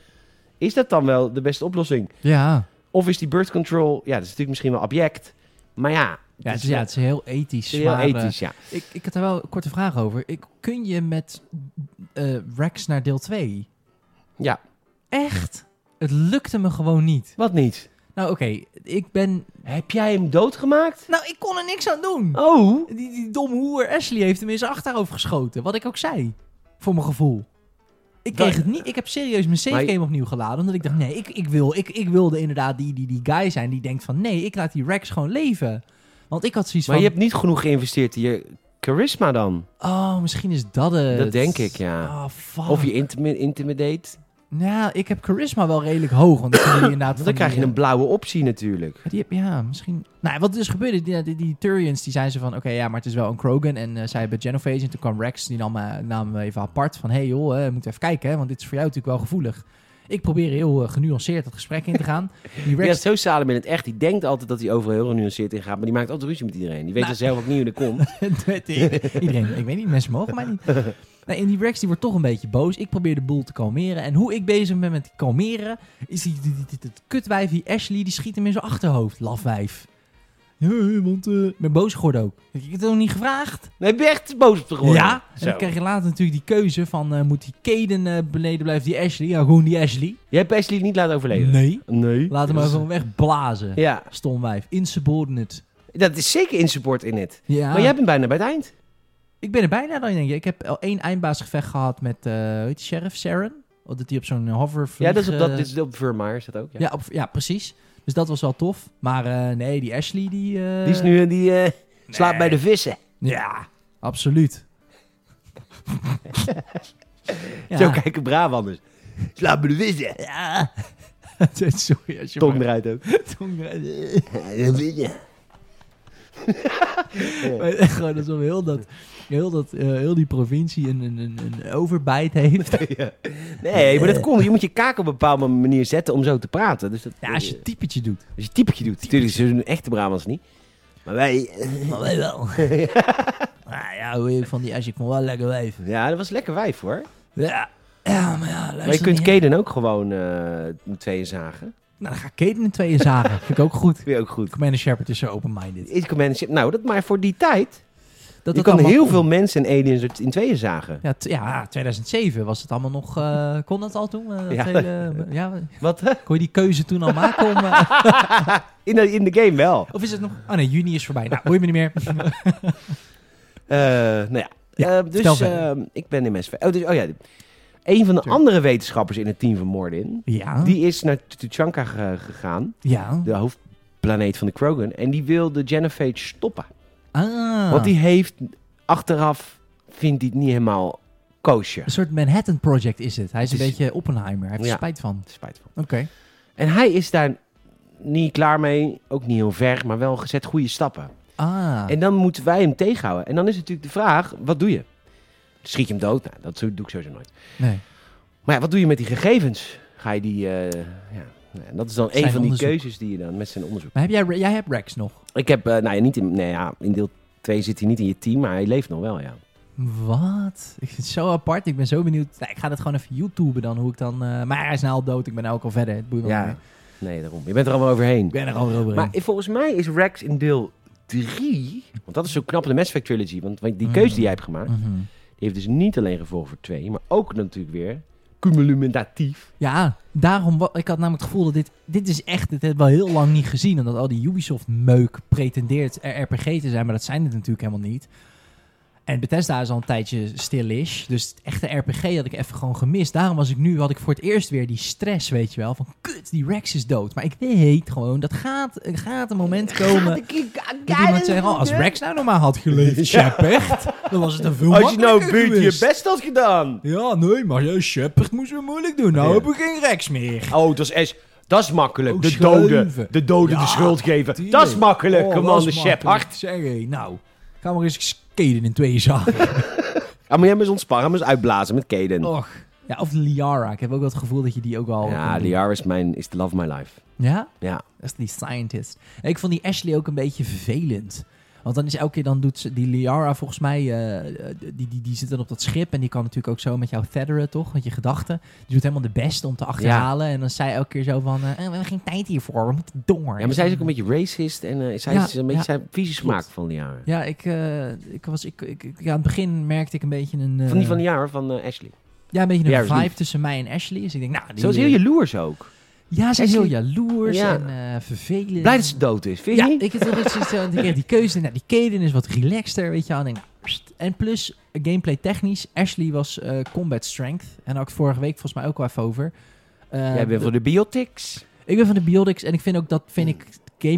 Speaker 1: is dat dan wel de beste oplossing?
Speaker 2: Ja.
Speaker 1: Of is die birth control, ja, dat is natuurlijk misschien wel abject. Maar ja,
Speaker 2: Ja, het is,
Speaker 1: is-
Speaker 2: ja, het is heel ethisch.
Speaker 1: het is heel
Speaker 2: maar, eh,
Speaker 1: ethisch, ja.
Speaker 2: Ik, ik had daar wel een korte vraag over. Ik, kun je met eh, Rex naar deel 2?
Speaker 1: Ja.
Speaker 2: Echt? Het lukte me gewoon niet.
Speaker 1: Wat niet?
Speaker 2: Nou, oké. Ik ben...
Speaker 1: Heb jij hem doodgemaakt?
Speaker 2: Nou, ik kon er niks aan doen.
Speaker 1: Oh!
Speaker 2: Die, die domme hoer Ashley heeft hem in zijn achterhoofd geschoten. Wat ik ook zei. Voor mijn gevoel. Ik kreeg
Speaker 1: Dat-
Speaker 2: het niet. Ik heb serieus mijn save
Speaker 1: Maar je-
Speaker 2: game opnieuw geladen. Omdat ik dacht, nee, ik, ik, wil, ik, ik wilde inderdaad die, die, die guy zijn die denkt van... Nee, ik laat die Rex gewoon leven. Want ik had zoiets
Speaker 1: Maar je
Speaker 2: van...
Speaker 1: hebt niet genoeg geïnvesteerd in je charisma dan.
Speaker 2: Oh, misschien is dat het.
Speaker 1: Dat denk ik, ja.
Speaker 2: Oh, fuck.
Speaker 1: Of je intimi- intimidate.
Speaker 2: Nou, ik heb charisma wel redelijk hoog. Want dan, kun
Speaker 1: <coughs>
Speaker 2: je inderdaad
Speaker 1: Want
Speaker 2: van
Speaker 1: dan krijg
Speaker 2: die,
Speaker 1: je een
Speaker 2: eh,
Speaker 1: blauwe optie natuurlijk.
Speaker 2: maar die heb- ja, misschien... Nou, wat er dus gebeurde, die, die, die Turians, die zeiden ze van... Oké, ja, maar het is wel een Krogan. En eh, zij hebben Genophage. En toen kwam Rex, die nam, eh, nam hem even apart. Van, hé hey, joh, eh, we moeten even kijken. Hè, want dit is voor jou natuurlijk wel gevoelig. Ik probeer heel eh, genuanceerd het gesprek in te gaan. Die
Speaker 1: Die
Speaker 2: Rex-
Speaker 1: is zo salem in het echt. Die denkt altijd dat hij overal heel genuanceerd in gaat. Maar die maakt altijd ruzie met iedereen. Die weet
Speaker 2: Nou.
Speaker 1: dat zelf ook niet hoe dat
Speaker 2: <laughs>
Speaker 1: komt.
Speaker 2: Met i- Iedereen, ik weet niet, mensen mogen mij niet. Nee, en die Rex die wordt toch een beetje boos. Ik probeer de boel te kalmeren. En hoe ik bezig ben met kalmeren, is die, die, die- die- dat kutwijf, die Ashley, die schiet hem in zijn achterhoofd. Lafwijf. Ja, want... eh, Ik ben boos geworden ook. Ik heb het ook niet gevraagd.
Speaker 1: Nee, ik ben echt boos op te gooien.
Speaker 2: Ja, en
Speaker 1: Zo.
Speaker 2: dan krijg je later natuurlijk die keuze van... eh, moet die Kaden eh, beneden blijven, die Ashley? Ja, gewoon die Ashley.
Speaker 1: Jij hebt Ashley niet laten overleven.
Speaker 2: Nee.
Speaker 1: Nee.
Speaker 2: Laat hem maar
Speaker 1: Dat is-
Speaker 2: gewoon wegblazen.
Speaker 1: Ja,
Speaker 2: Stomwijf. Insubordinate.
Speaker 1: dat is zeker in support in het.
Speaker 2: Ja.
Speaker 1: Maar jij bent bijna bij het eind.
Speaker 2: Ik ben er bijna dan, denk ik. Ik heb al één eindbaasgevecht gehad met, eh hoe heet die sheriff, Saren. Oh, Dat die op zo'n hover
Speaker 1: Ja, dat is op, dat,
Speaker 2: eh,
Speaker 1: dit is op Vermaar, is dat ook? Ja.
Speaker 2: ja. op- ja, precies. Dus dat was wel tof. Maar eh, nee, die Ashley, die... eh,
Speaker 1: Die is nu, die eh, slaapt bij de vissen.
Speaker 2: Ja,
Speaker 1: <laughs>
Speaker 2: absoluut. ja.
Speaker 1: Zo kijken Brabanders. Slaapt bij de vissen.
Speaker 2: Ja. <laughs> Sorry, als je
Speaker 1: Tong
Speaker 2: maar-
Speaker 1: eruit
Speaker 2: <laughs>
Speaker 1: ook. <laughs>
Speaker 2: Tong eruit.
Speaker 1: Ja,
Speaker 2: Maar echt gewoon alsof heel, dat, heel, dat, eh, heel die provincie een, een, een, een overbijt heeft.
Speaker 1: <laughs> Nee, maar dat
Speaker 2: Eh.
Speaker 1: komt. Je moet je kaak op een bepaalde manier zetten om zo te praten. Dus dat,
Speaker 2: Ja, als je typetje doet.
Speaker 1: Als je typetje doet. Natuurlijk, ze doen echte Brabants niet. Maar wij... eh,
Speaker 2: Maar wij wel. Nou <laughs> ja, hoe je van die Ashley, ik vond wel lekker wijven.
Speaker 1: Ja, dat was lekker wijf hoor.
Speaker 2: Ja, ja maar ja, luister
Speaker 1: Maar je kunt
Speaker 2: niet, hè.
Speaker 1: Kaden ook gewoon eh met tweeën zagen.
Speaker 2: Nou, dan ga ik Kaden in tweeën zagen. <laughs> Vind ik ook goed.
Speaker 1: Weer ook goed.
Speaker 2: Commander Shepard is zo open-minded.
Speaker 1: Is Commander- Nou, dat, maar voor die tijd...
Speaker 2: Dat
Speaker 1: je
Speaker 2: het
Speaker 1: kan
Speaker 2: allemaal
Speaker 1: heel
Speaker 2: kon.
Speaker 1: veel mensen en aliens er in tweeën zagen.
Speaker 2: Ja, t- ja, 2007 was het allemaal nog... eh, kon dat al toen? Eh, dat
Speaker 1: Ja.
Speaker 2: hele- ja,
Speaker 1: Wat? hè?
Speaker 2: kon je die keuze toen al maken? Om,
Speaker 1: <laughs>
Speaker 2: eh,
Speaker 1: In de, in de game wel.
Speaker 2: of is het nog... Oh nee, juni is voorbij. Nou, boeit me niet meer.
Speaker 1: <laughs> Eh, nou ja.
Speaker 2: Ja,
Speaker 1: Eh,
Speaker 2: vertel
Speaker 1: dus
Speaker 2: verder.
Speaker 1: eh, ik ben in MSV. Oh, dus, oh ja. Een van de
Speaker 2: Tuurlijk.
Speaker 1: andere wetenschappers in het team van Mordin...
Speaker 2: ja,
Speaker 1: Die is naar Tuchanka ge- gegaan.
Speaker 2: ja.
Speaker 1: De hoofdplaneet van de Krogan. En die wil de Genophage stoppen.
Speaker 2: Ah,
Speaker 1: Want die heeft achteraf, vindt hij het niet helemaal koosje.
Speaker 2: Een soort Manhattan Project is het. Hij is een
Speaker 1: Het is-
Speaker 2: beetje Oppenheimer. Hij heeft er
Speaker 1: Ja.
Speaker 2: spijt van.
Speaker 1: Spijt van.
Speaker 2: Oké.
Speaker 1: En hij is daar niet klaar mee, ook niet heel ver, maar wel gezet goede stappen.
Speaker 2: Ah,
Speaker 1: En dan moeten wij hem tegenhouden. En dan is natuurlijk de vraag, wat doe je? Schiet je hem dood? Nou, dat zo- doe ik sowieso nooit.
Speaker 2: nee.
Speaker 1: Maar ja, wat doe je met die gegevens? Ga je die... eh, ja. nou ja, dat is dan
Speaker 2: Zijn
Speaker 1: een van
Speaker 2: onderzoek.
Speaker 1: die keuzes die je dan met zijn onderzoek...
Speaker 2: Maar heb jij, jij hebt Rex nog.
Speaker 1: Ik heb, eh, nou ja, niet in, nee, ja, in deel 2 zit hij niet in je team, maar hij leeft nog wel, ja.
Speaker 2: Wat? Ik vind het zo apart. Ik ben zo benieuwd. Nou, ik ga dat gewoon even YouTuben dan, hoe ik dan... eh, maar hij is nou al dood. Ik ben nou ook al verder. Het boeit me
Speaker 1: Ja,
Speaker 2: niet meer.
Speaker 1: nee, daarom. Je bent er allemaal overheen.
Speaker 2: Ik ben er al over.
Speaker 1: Maar volgens mij is Rex in deel 3... Want dat is zo knap in de Mass Effect Trilogy. Want want die keuze die jij hebt gemaakt...
Speaker 2: Mhm.
Speaker 1: Die heeft dus niet alleen gevolgen voor 2, maar ook natuurlijk weer cumulatief.
Speaker 2: Ja, daarom... wa- Ik had namelijk het gevoel dat dit... Dit is echt... Dit hebben we al heel lang niet gezien. Omdat al die Ubisoft-meuk pretendeert er RPG te zijn. Maar dat zijn het natuurlijk helemaal niet. En Bethesda is al een tijdje stil-ish. Dus het echte RPG had ik even gewoon gemist. Daarom was ik nu... Had ik voor het eerst weer die stress, weet je wel. Van kut, die Rex is dood. Maar ik weet gewoon... Dat gaat, er gaat een
Speaker 1: <laughs>
Speaker 2: moment komen... Dat iemand zegt, oh, als Rex nou nog maar had
Speaker 1: <laughs>
Speaker 2: geleefd, Shepard, dan was het een veel
Speaker 1: Als je nou een
Speaker 2: makkelijker
Speaker 1: beetje je
Speaker 2: geweest.
Speaker 1: best had gedaan.
Speaker 2: Ja, nee, maar ja, Shepard moest weer moeilijk doen. Nou
Speaker 1: Ja.
Speaker 2: heb ik geen Rex meer.
Speaker 1: Oh, dat is S. Dat is makkelijk.
Speaker 2: Oh,
Speaker 1: de
Speaker 2: schuiven.
Speaker 1: doden. De doden
Speaker 2: Ja,
Speaker 1: de schuld geven.
Speaker 2: Tuurlijk.
Speaker 1: Dat is makkelijk,
Speaker 2: Oh, dat
Speaker 1: commander
Speaker 2: is makkelijk.
Speaker 1: Shepard.
Speaker 2: Zeg, hé, nou, ga maar eens skaten in twee
Speaker 1: <laughs>
Speaker 2: zaken.
Speaker 1: Ja, Ah, maar jij moet ontspannen, maar eens uitblazen met Kaden.
Speaker 2: Och. Ja, of Liara. Ik heb ook wel het gevoel dat je die ook al...
Speaker 1: ja, Liara is, mijn, is the love of my life.
Speaker 2: Ja?
Speaker 1: Ja.
Speaker 2: Dat is die scientist. En ik vond die Ashley ook een beetje vervelend. Want dan is elke keer, dan doet ze, die Liara volgens mij, eh, eh, die, die, die zit dan op dat schip. En die kan natuurlijk ook zo met jou tedderen, toch? Met je gedachten. Die doet helemaal de best om te achterhalen. En dan zei elke keer zo van, eh, eh, we hebben geen tijd hiervoor, we moeten door.
Speaker 1: ja, maar zij is ook een beetje racist en eh, zij
Speaker 2: Ja,
Speaker 1: is een beetje
Speaker 2: ja.
Speaker 1: zijn visie
Speaker 2: Klopt.
Speaker 1: smaak van Liara.
Speaker 2: Ja, ik, eh, ik was, ik, ik, ik- ja, aan het begin merkte ik een beetje een... eh,
Speaker 1: Van die van Liara, van eh, Ashley.
Speaker 2: Ja, een beetje een
Speaker 1: Ja, is
Speaker 2: vibe
Speaker 1: lief.
Speaker 2: tussen mij en Ashley. Dus ik denk, nou... die-
Speaker 1: Zo is heel jaloers ook.
Speaker 2: Ja, ze is heel
Speaker 1: Ashley-
Speaker 2: jaloers
Speaker 1: Ja.
Speaker 2: en eh, vervelend.
Speaker 1: Blij dat ze dood is, vind je
Speaker 2: Ja,
Speaker 1: niet?
Speaker 2: ik heb toch zoiets van, ik heb die keuze. Nou, die Kaden is wat relaxter, weet je wel. En, denk, nou, pst. en plus, gameplay technisch, Ashley was eh, combat strength. En daar had ik vorige week volgens mij ook al even over. Eh,
Speaker 1: Jij bent voor de biotics.
Speaker 2: Ik ben van de Biotics en ik vind ook dat, vind ik,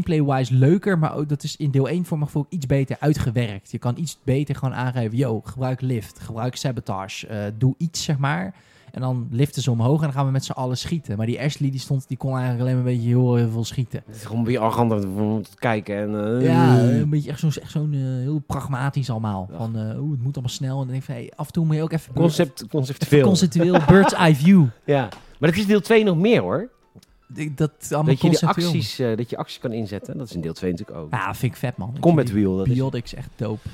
Speaker 2: gameplay-wise leuker, maar ook, dat is in deel 1 voor mijn gevoel ook iets beter uitgewerkt. Je kan iets beter gewoon aangeven, yo, gebruik lift, gebruik sabotage, eh, doe iets, zeg maar. En dan liften ze omhoog en dan gaan we met z'n allen schieten. Maar die Ashley, die, stond, die kon eigenlijk alleen maar een beetje heel, heel veel schieten.
Speaker 1: Het is gewoon weer arrogant om te kijken. En, eh,
Speaker 2: Ja, een beetje echt zo'n echt zo'n eh, heel pragmatisch allemaal.
Speaker 1: Ja.
Speaker 2: Van, eh, oeh, het moet allemaal snel. En dan denk ik van, hey, af en toe moet je ook even...
Speaker 1: Concept, conceptueel.
Speaker 2: Conceptueel, bird's eye view.
Speaker 1: Ja. Maar dat is deel 2 nog meer hoor.
Speaker 2: Ik- Dat allemaal
Speaker 1: Dat je, de
Speaker 2: conceptueel.
Speaker 1: acties, eh, dat je acties kan inzetten. Dat is in deel 2 natuurlijk ook.
Speaker 2: Ja, vind ik vet, man. Ik
Speaker 1: Combat
Speaker 2: vind die
Speaker 1: Wheel. Dat is,
Speaker 2: Biotics echt dope.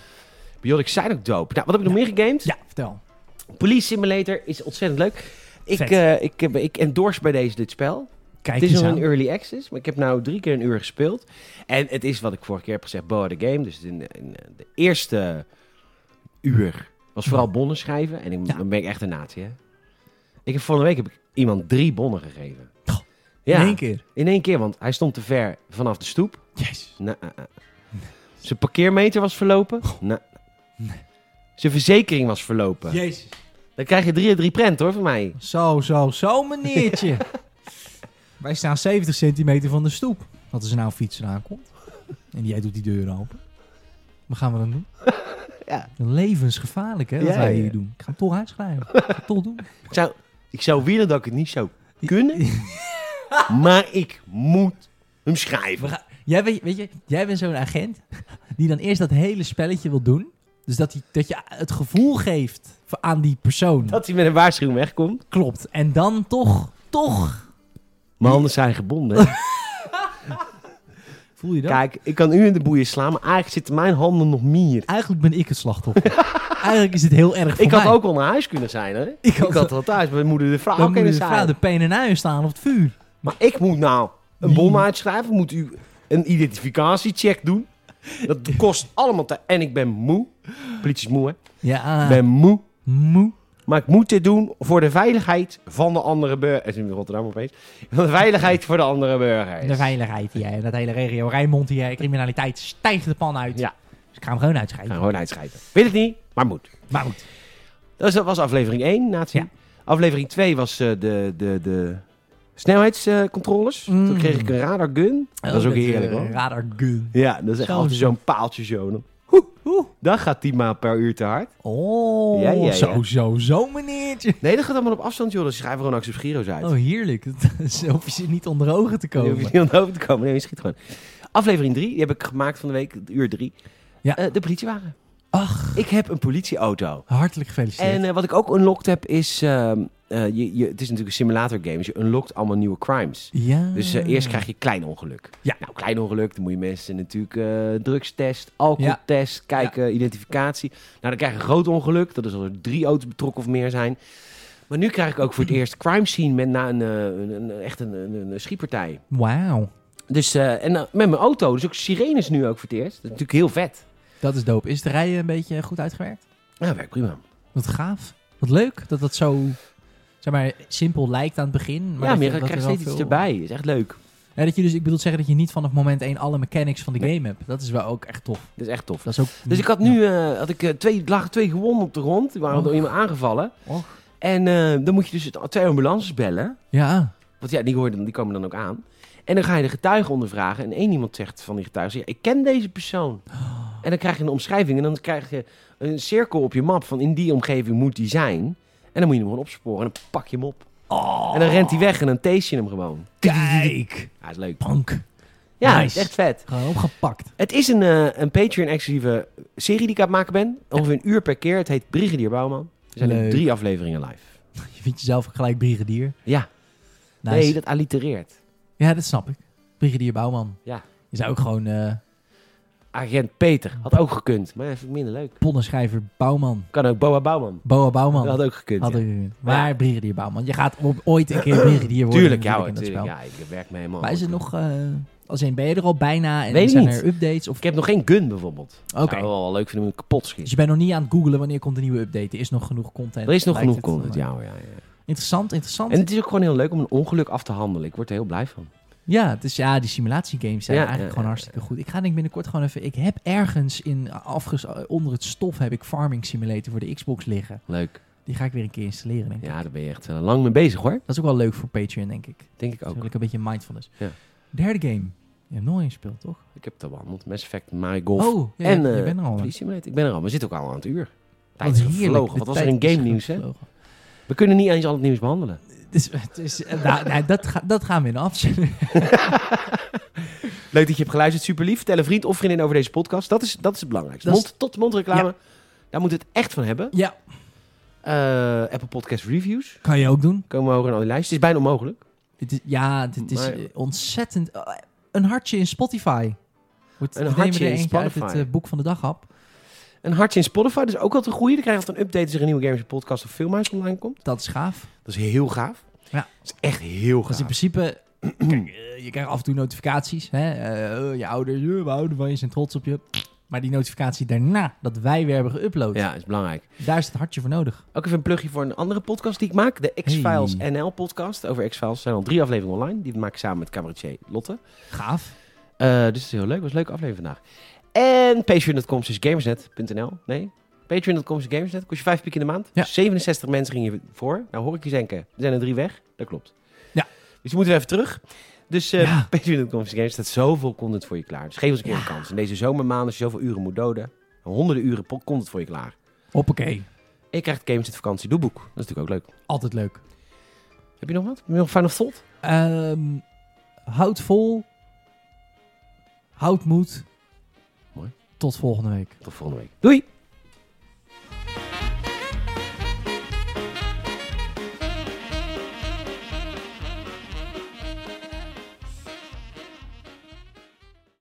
Speaker 1: Biotics zijn ook dope. Nou, wat heb ik nog meer gegamed?
Speaker 2: Ja, vertel.
Speaker 1: Police Simulator is ontzettend leuk. Ik,
Speaker 2: Vet.
Speaker 1: eh ik, heb- ik endorse bij deze dit spel.
Speaker 2: Kijk
Speaker 1: het is
Speaker 2: eens
Speaker 1: nog
Speaker 2: aan.
Speaker 1: een early access, maar ik heb nou drie keer een uur gespeeld. En het is wat ik vorige keer heb gezegd, Boa the Game. Dus in, in de eerste uur was vooral bonnen schrijven. En ik,
Speaker 2: Ja.
Speaker 1: dan ben ik echt een natie, hè. Ik heb vorige week heb ik iemand drie bonnen gegeven.
Speaker 2: Goh,
Speaker 1: ja,
Speaker 2: In één keer.
Speaker 1: in één keer, want hij stond te ver vanaf de stoep.
Speaker 2: Yes.
Speaker 1: Nou, eh, eh. Zijn parkeermeter was verlopen. Nou. Zijn verzekering was verlopen.
Speaker 2: Jezus.
Speaker 1: Dan krijg je drie, drie prent hoor van mij.
Speaker 2: Zo, zo, zo,
Speaker 1: <laughs>
Speaker 2: meneertje. Wij staan 70 centimeter van de stoep. Wat is er nou een fiets eraan komt. En jij doet die deur open. Wat gaan we dan doen?
Speaker 1: <laughs> Ja.
Speaker 2: Levensgevaarlijk, hè, wat
Speaker 1: Ja,
Speaker 2: wij
Speaker 1: ja.
Speaker 2: hier doen. Ik ga hem toch uitschrijven. Ik ga het toch doen.
Speaker 1: Ik zou, ik zou willen dat ik het niet zou kunnen, <laughs> maar ik moet hem schrijven.
Speaker 2: We gaan- jij, weet, weet je, jij bent zo'n agent die dan eerst dat hele spelletje wil doen. Dus dat, die, dat je het gevoel geeft voor- aan die persoon.
Speaker 1: Dat hij met een waarschuwing wegkomt.
Speaker 2: klopt. En dan toch, toch.
Speaker 1: Mijn handen zijn gebonden. <laughs>
Speaker 2: Voel je dat?
Speaker 1: Kijk, ik kan u in de boeien slaan, maar eigenlijk zitten mijn handen nog meer.
Speaker 2: Eigenlijk ben ik het
Speaker 1: <laughs>
Speaker 2: slachtoffer. Eigenlijk is het heel erg voor
Speaker 1: Ik had
Speaker 2: mij.
Speaker 1: ook al naar huis kunnen zijn, hè?
Speaker 2: Ik had-
Speaker 1: ik had al thuis bij mijn moeder de vrouw
Speaker 2: Dan
Speaker 1: kunnen
Speaker 2: moet de vrouw
Speaker 1: zijn.
Speaker 2: de peen en uien staan op het vuur.
Speaker 1: Maar ik moet nou een
Speaker 2: Die-
Speaker 1: bom uitschrijven, moet u een identificatiecheck doen. Dat kost allemaal tijd. En ik ben moe. Politie is moe, hè?
Speaker 2: Ja,
Speaker 1: Ik ben moe.
Speaker 2: moe.
Speaker 1: Maar ik moet dit doen voor de veiligheid van de andere burger. Het is in Rotterdam opeens. Van de veiligheid voor de andere burgers.
Speaker 2: De veiligheid hier. en Dat hele regio Rijnmond hier. Criminaliteit stijgt de pan uit.
Speaker 1: Ja.
Speaker 2: Dus ik ga hem gewoon
Speaker 1: Gaan
Speaker 2: uitschrijven.
Speaker 1: we gewoon uitschrijven. Weet het niet, maar moet.
Speaker 2: Maar goed.
Speaker 1: Dus dat was aflevering 1, Nazi.
Speaker 2: Ja.
Speaker 1: Aflevering 2 was eh, de, de, de snelheidscontroles.
Speaker 2: Mm. Oh, eh,
Speaker 1: Toen kreeg ik een radargun. dat is eh, ook heerlijk hoor.
Speaker 2: Radar gun.
Speaker 1: Ja, dat is echt
Speaker 2: Zo
Speaker 1: altijd
Speaker 2: is
Speaker 1: zo'n paaltje zo.
Speaker 2: Oeh.
Speaker 1: Dan gaat 10 maal per uur te hard.
Speaker 2: Oh,
Speaker 1: Ja, ja, ja.
Speaker 2: zo, zo, zo, meneertje.
Speaker 1: Nee, dat gaat allemaal op afstand joh. Dan schrijven we gewoon Axel Giro's uit.
Speaker 2: Oh, heerlijk. <laughs> Zo hoef je ze niet onder ogen te
Speaker 1: Je
Speaker 2: komen.
Speaker 1: hoeft niet onder te komen. Nee, je schiet gewoon. Aflevering 3, die heb ik gemaakt van de week, uur 3.
Speaker 2: Ja.
Speaker 1: Eh, de politiewagen.
Speaker 2: Ach,
Speaker 1: Ik heb een politieauto.
Speaker 2: hartelijk gefeliciteerd.
Speaker 1: En eh, wat ik ook unlocked heb is... ehm, eh, je, je, het is natuurlijk een simulator game, dus je unlockt allemaal nieuwe crimes.
Speaker 2: ja.
Speaker 1: Dus eh, eerst krijg je klein ongeluk.
Speaker 2: Ja.
Speaker 1: Nou, klein ongeluk, dan moet je mensen natuurlijk eh, drugstest, alcoholtest, kijken, identificatie. Nou, dan krijg je een groot ongeluk. Dat is als er drie auto's betrokken of meer zijn. Maar nu krijg ik ook voor het eerst crime scene met, na een, eh, een, een- echt een, een, een schietpartij.
Speaker 2: Wauw.
Speaker 1: Dus, eh, en eh, met mijn auto. Dus ook sirenes nu ook voor het eerst. Dat is natuurlijk heel vet.
Speaker 2: Dat is dope. Is de rij eh, een beetje goed uitgewerkt?
Speaker 1: Ja, werkt prima.
Speaker 2: Wat gaaf. Wat leuk dat dat zo, zeg maar, simpel lijkt aan het begin. Maar
Speaker 1: ja,
Speaker 2: dat
Speaker 1: maar
Speaker 2: dat
Speaker 1: je krijgt
Speaker 2: er wel
Speaker 1: steeds iets
Speaker 2: veel-
Speaker 1: erbij. Is echt leuk.
Speaker 2: Ja, dat je dus, ik bedoel te zeggen dat je niet vanaf moment één alle mechanics van de game hebt. Dat is wel ook echt tof.
Speaker 1: Dat is echt tof.
Speaker 2: Dat is ook...
Speaker 1: Dus ik had nu eh, had ik, eh, twee, lagen twee gewonden op de grond. Die waren
Speaker 2: Och.
Speaker 1: door iemand aangevallen.
Speaker 2: Oh. Och.
Speaker 1: En eh, dan moet je dus het- twee ambulances bellen.
Speaker 2: Ja.
Speaker 1: Want ja, die, hoor je dan, die komen dan ook aan. En dan ga je de getuigen ondervragen. En één iemand zegt van die getuigen... Ja, ik ken deze
Speaker 2: <gasps>
Speaker 1: persoon. En dan krijg je een omschrijving. En dan krijg je een cirkel op je map van... in die omgeving moet die zijn. En dan moet je hem gewoon opsporen. En dan pak je hem op.
Speaker 2: Oh,
Speaker 1: En dan rent hij weg en dan taste je hem gewoon.
Speaker 2: kijk.
Speaker 1: Ja, is leuk.
Speaker 2: Pank.
Speaker 1: Ja,
Speaker 2: Nice.
Speaker 1: is echt vet.
Speaker 2: Gewoon opgepakt.
Speaker 1: Het is een, eh, een Patreon-exclusieve serie die ik aan het maken ben. Ongeveer een uur per keer. Het heet Brigadier Bouwman. Er zijn nu
Speaker 2: Leuk.
Speaker 1: drie afleveringen live.
Speaker 2: <laughs> Je vindt jezelf gelijk brigadier.
Speaker 1: Ja,
Speaker 2: Nice.
Speaker 1: nee, dat allitereert.
Speaker 2: Ja, dat snap ik. Brigadier Bouwman.
Speaker 1: Ja.
Speaker 2: Je zou ook gewoon eh
Speaker 1: Agent Peter had ook gekund, maar even minder leuk.
Speaker 2: ponnenschrijver Bouwman.
Speaker 1: Kan ook Boa Bouwman.
Speaker 2: Boa Bouwman.
Speaker 1: Dat had ook gekund.
Speaker 2: Had
Speaker 1: ja.
Speaker 2: ik gekund. Maar Brigadier Bouwman. Je gaat op- ooit een keer
Speaker 1: <clears throat>
Speaker 2: Brigadier worden.
Speaker 1: Tuurlijk, ja,
Speaker 2: natuurlijk,
Speaker 1: hoor,
Speaker 2: in dat
Speaker 1: tuurlijk.
Speaker 2: spel.
Speaker 1: Ja, ik werk mee helemaal.
Speaker 2: Maar is het nog... eh, als in, ben je er al bijna? En
Speaker 1: Weet ik
Speaker 2: zijn
Speaker 1: niet. Nou,
Speaker 2: er updates? Of...
Speaker 1: Ik heb nog geen gun bijvoorbeeld.
Speaker 2: Oké.
Speaker 1: Zou wel, wel leuk vinden om kapot te
Speaker 2: Dus
Speaker 1: schieten.
Speaker 2: je bent nog niet aan het googelen wanneer komt een nieuwe update. Er is nog genoeg content.
Speaker 1: Er is nog
Speaker 2: lijkt
Speaker 1: genoeg
Speaker 2: het. eh,
Speaker 1: content, ja, hoor, ja, ja.
Speaker 2: Interessant, interessant.
Speaker 1: En het is ook gewoon heel leuk om een ongeluk af te handelen. Ik word er heel blij van.
Speaker 2: Ja, het is, ja, die simulatiegames zijn
Speaker 1: Ja, eh,
Speaker 2: eigenlijk
Speaker 1: ja,
Speaker 2: gewoon
Speaker 1: ja,
Speaker 2: hartstikke goed. Ik ga denk ik binnenkort gewoon even... Ik heb ergens in, afges, onder het stof heb ik Farming Simulator voor de Xbox liggen.
Speaker 1: Leuk.
Speaker 2: Die ga ik weer een keer installeren, denk ik.
Speaker 1: Ja, daar ben je echt eh, lang mee bezig hoor.
Speaker 2: Dat is ook wel leuk voor Patreon, denk ik.
Speaker 1: Denk ik
Speaker 2: Dat
Speaker 1: ook.
Speaker 2: is ook een beetje mindfulness.
Speaker 1: Ja.
Speaker 2: Derde game. Je hebt nog één gespeeld, toch?
Speaker 1: Ik heb het al behandeld. Mass Effect, My Golf.
Speaker 2: oh, ja,
Speaker 1: en
Speaker 2: je, je
Speaker 1: eh,
Speaker 2: bent er al.
Speaker 1: Police
Speaker 2: Wat
Speaker 1: Simulator. Ik ben er al. We zitten ook al aan het uur. Tijd is
Speaker 2: heerlijk.
Speaker 1: Oh, gevlogen.
Speaker 2: De
Speaker 1: Wat was er
Speaker 2: tijd
Speaker 1: in
Speaker 2: is
Speaker 1: game nieuws, hè?
Speaker 2: gevlogen.
Speaker 1: We kunnen niet eens al het nieuws behandelen.
Speaker 2: Dus, het is- eh, nou, nou, dat, ga- dat gaan we in de afzending. <laughs>
Speaker 1: Leuk dat je hebt geluisterd. Super lief. Vertel een vriend of vriendin over deze podcast. Dat is, dat is het belangrijkste.
Speaker 2: Dat is-
Speaker 1: Mond, tot mond reclame. Daar moeten we het echt van hebben.
Speaker 2: Ja,
Speaker 1: Eh, Apple Podcast Reviews.
Speaker 2: kan je ook doen.
Speaker 1: Komen we hoger in al die lijst. Het is bijna onmogelijk.
Speaker 2: Het is- ja, dit is
Speaker 1: Maar-
Speaker 2: eh, ontzettend... oh, een hartje in Spotify. Wordt,
Speaker 1: Een hartje
Speaker 2: we nemen er
Speaker 1: in
Speaker 2: eentje uit het
Speaker 1: Spotify.
Speaker 2: eh, boek van de dag hap.
Speaker 1: Een hartje in Spotify. Dat is ook al te groeien. Dan krijg je altijd een update als er een nieuwe Games Podcast of Filmhuis online komt.
Speaker 2: Dat is gaaf.
Speaker 1: Dat is heel gaaf.
Speaker 2: Ja.
Speaker 1: Dat is echt heel
Speaker 2: Dat is
Speaker 1: gaaf.
Speaker 2: in principe... <clears throat> Kijk, eh, je krijgt af en toe notificaties. Hè? Eh, eh, je ouders, eh, we houden van je, zijn trots op je. Maar die notificatie daarna, dat wij weer hebben geüpload.
Speaker 1: Ja, is belangrijk.
Speaker 2: Daar is het hartje voor nodig.
Speaker 1: Ook even een plugje voor een andere podcast die ik maak. De X-Files NL podcast. Over X-Files zijn al drie afleveringen online. Die maak ik samen met cabaretier Lotte.
Speaker 2: Gaaf.
Speaker 1: Eh, dus het is heel leuk. was een leuke aflevering vandaag. En patreon.com slash gamersnet.nl. Nee, patreon.com slash gamersnet. Kost je vijf piek in de maand.
Speaker 2: Ja.
Speaker 1: 67 mensen gingen je voor. Nou hoor ik je denken, er zijn er drie weg. Dat klopt.
Speaker 2: Ja.
Speaker 1: Dus je moet weer even terug. Dus eh
Speaker 2: Ja.
Speaker 1: patreon.com slash gamersnet. Zoveel content voor je klaar. Dus geef ons een keer
Speaker 2: Ja.
Speaker 1: een kans. In deze zomermaanden, als je zoveel uren moet doden. Honderden uren po- content voor je klaar.
Speaker 2: Hoppakee.
Speaker 1: En je krijgt het Gamersnet vakantie doeboek. Dat is natuurlijk ook leuk.
Speaker 2: Altijd leuk.
Speaker 1: Heb je nog wat? Heb je nog Final Thought?
Speaker 2: Ehm, houd vol. Houd moed.
Speaker 1: Mooi.
Speaker 2: Tot volgende week.
Speaker 1: Tot volgende week. Doei!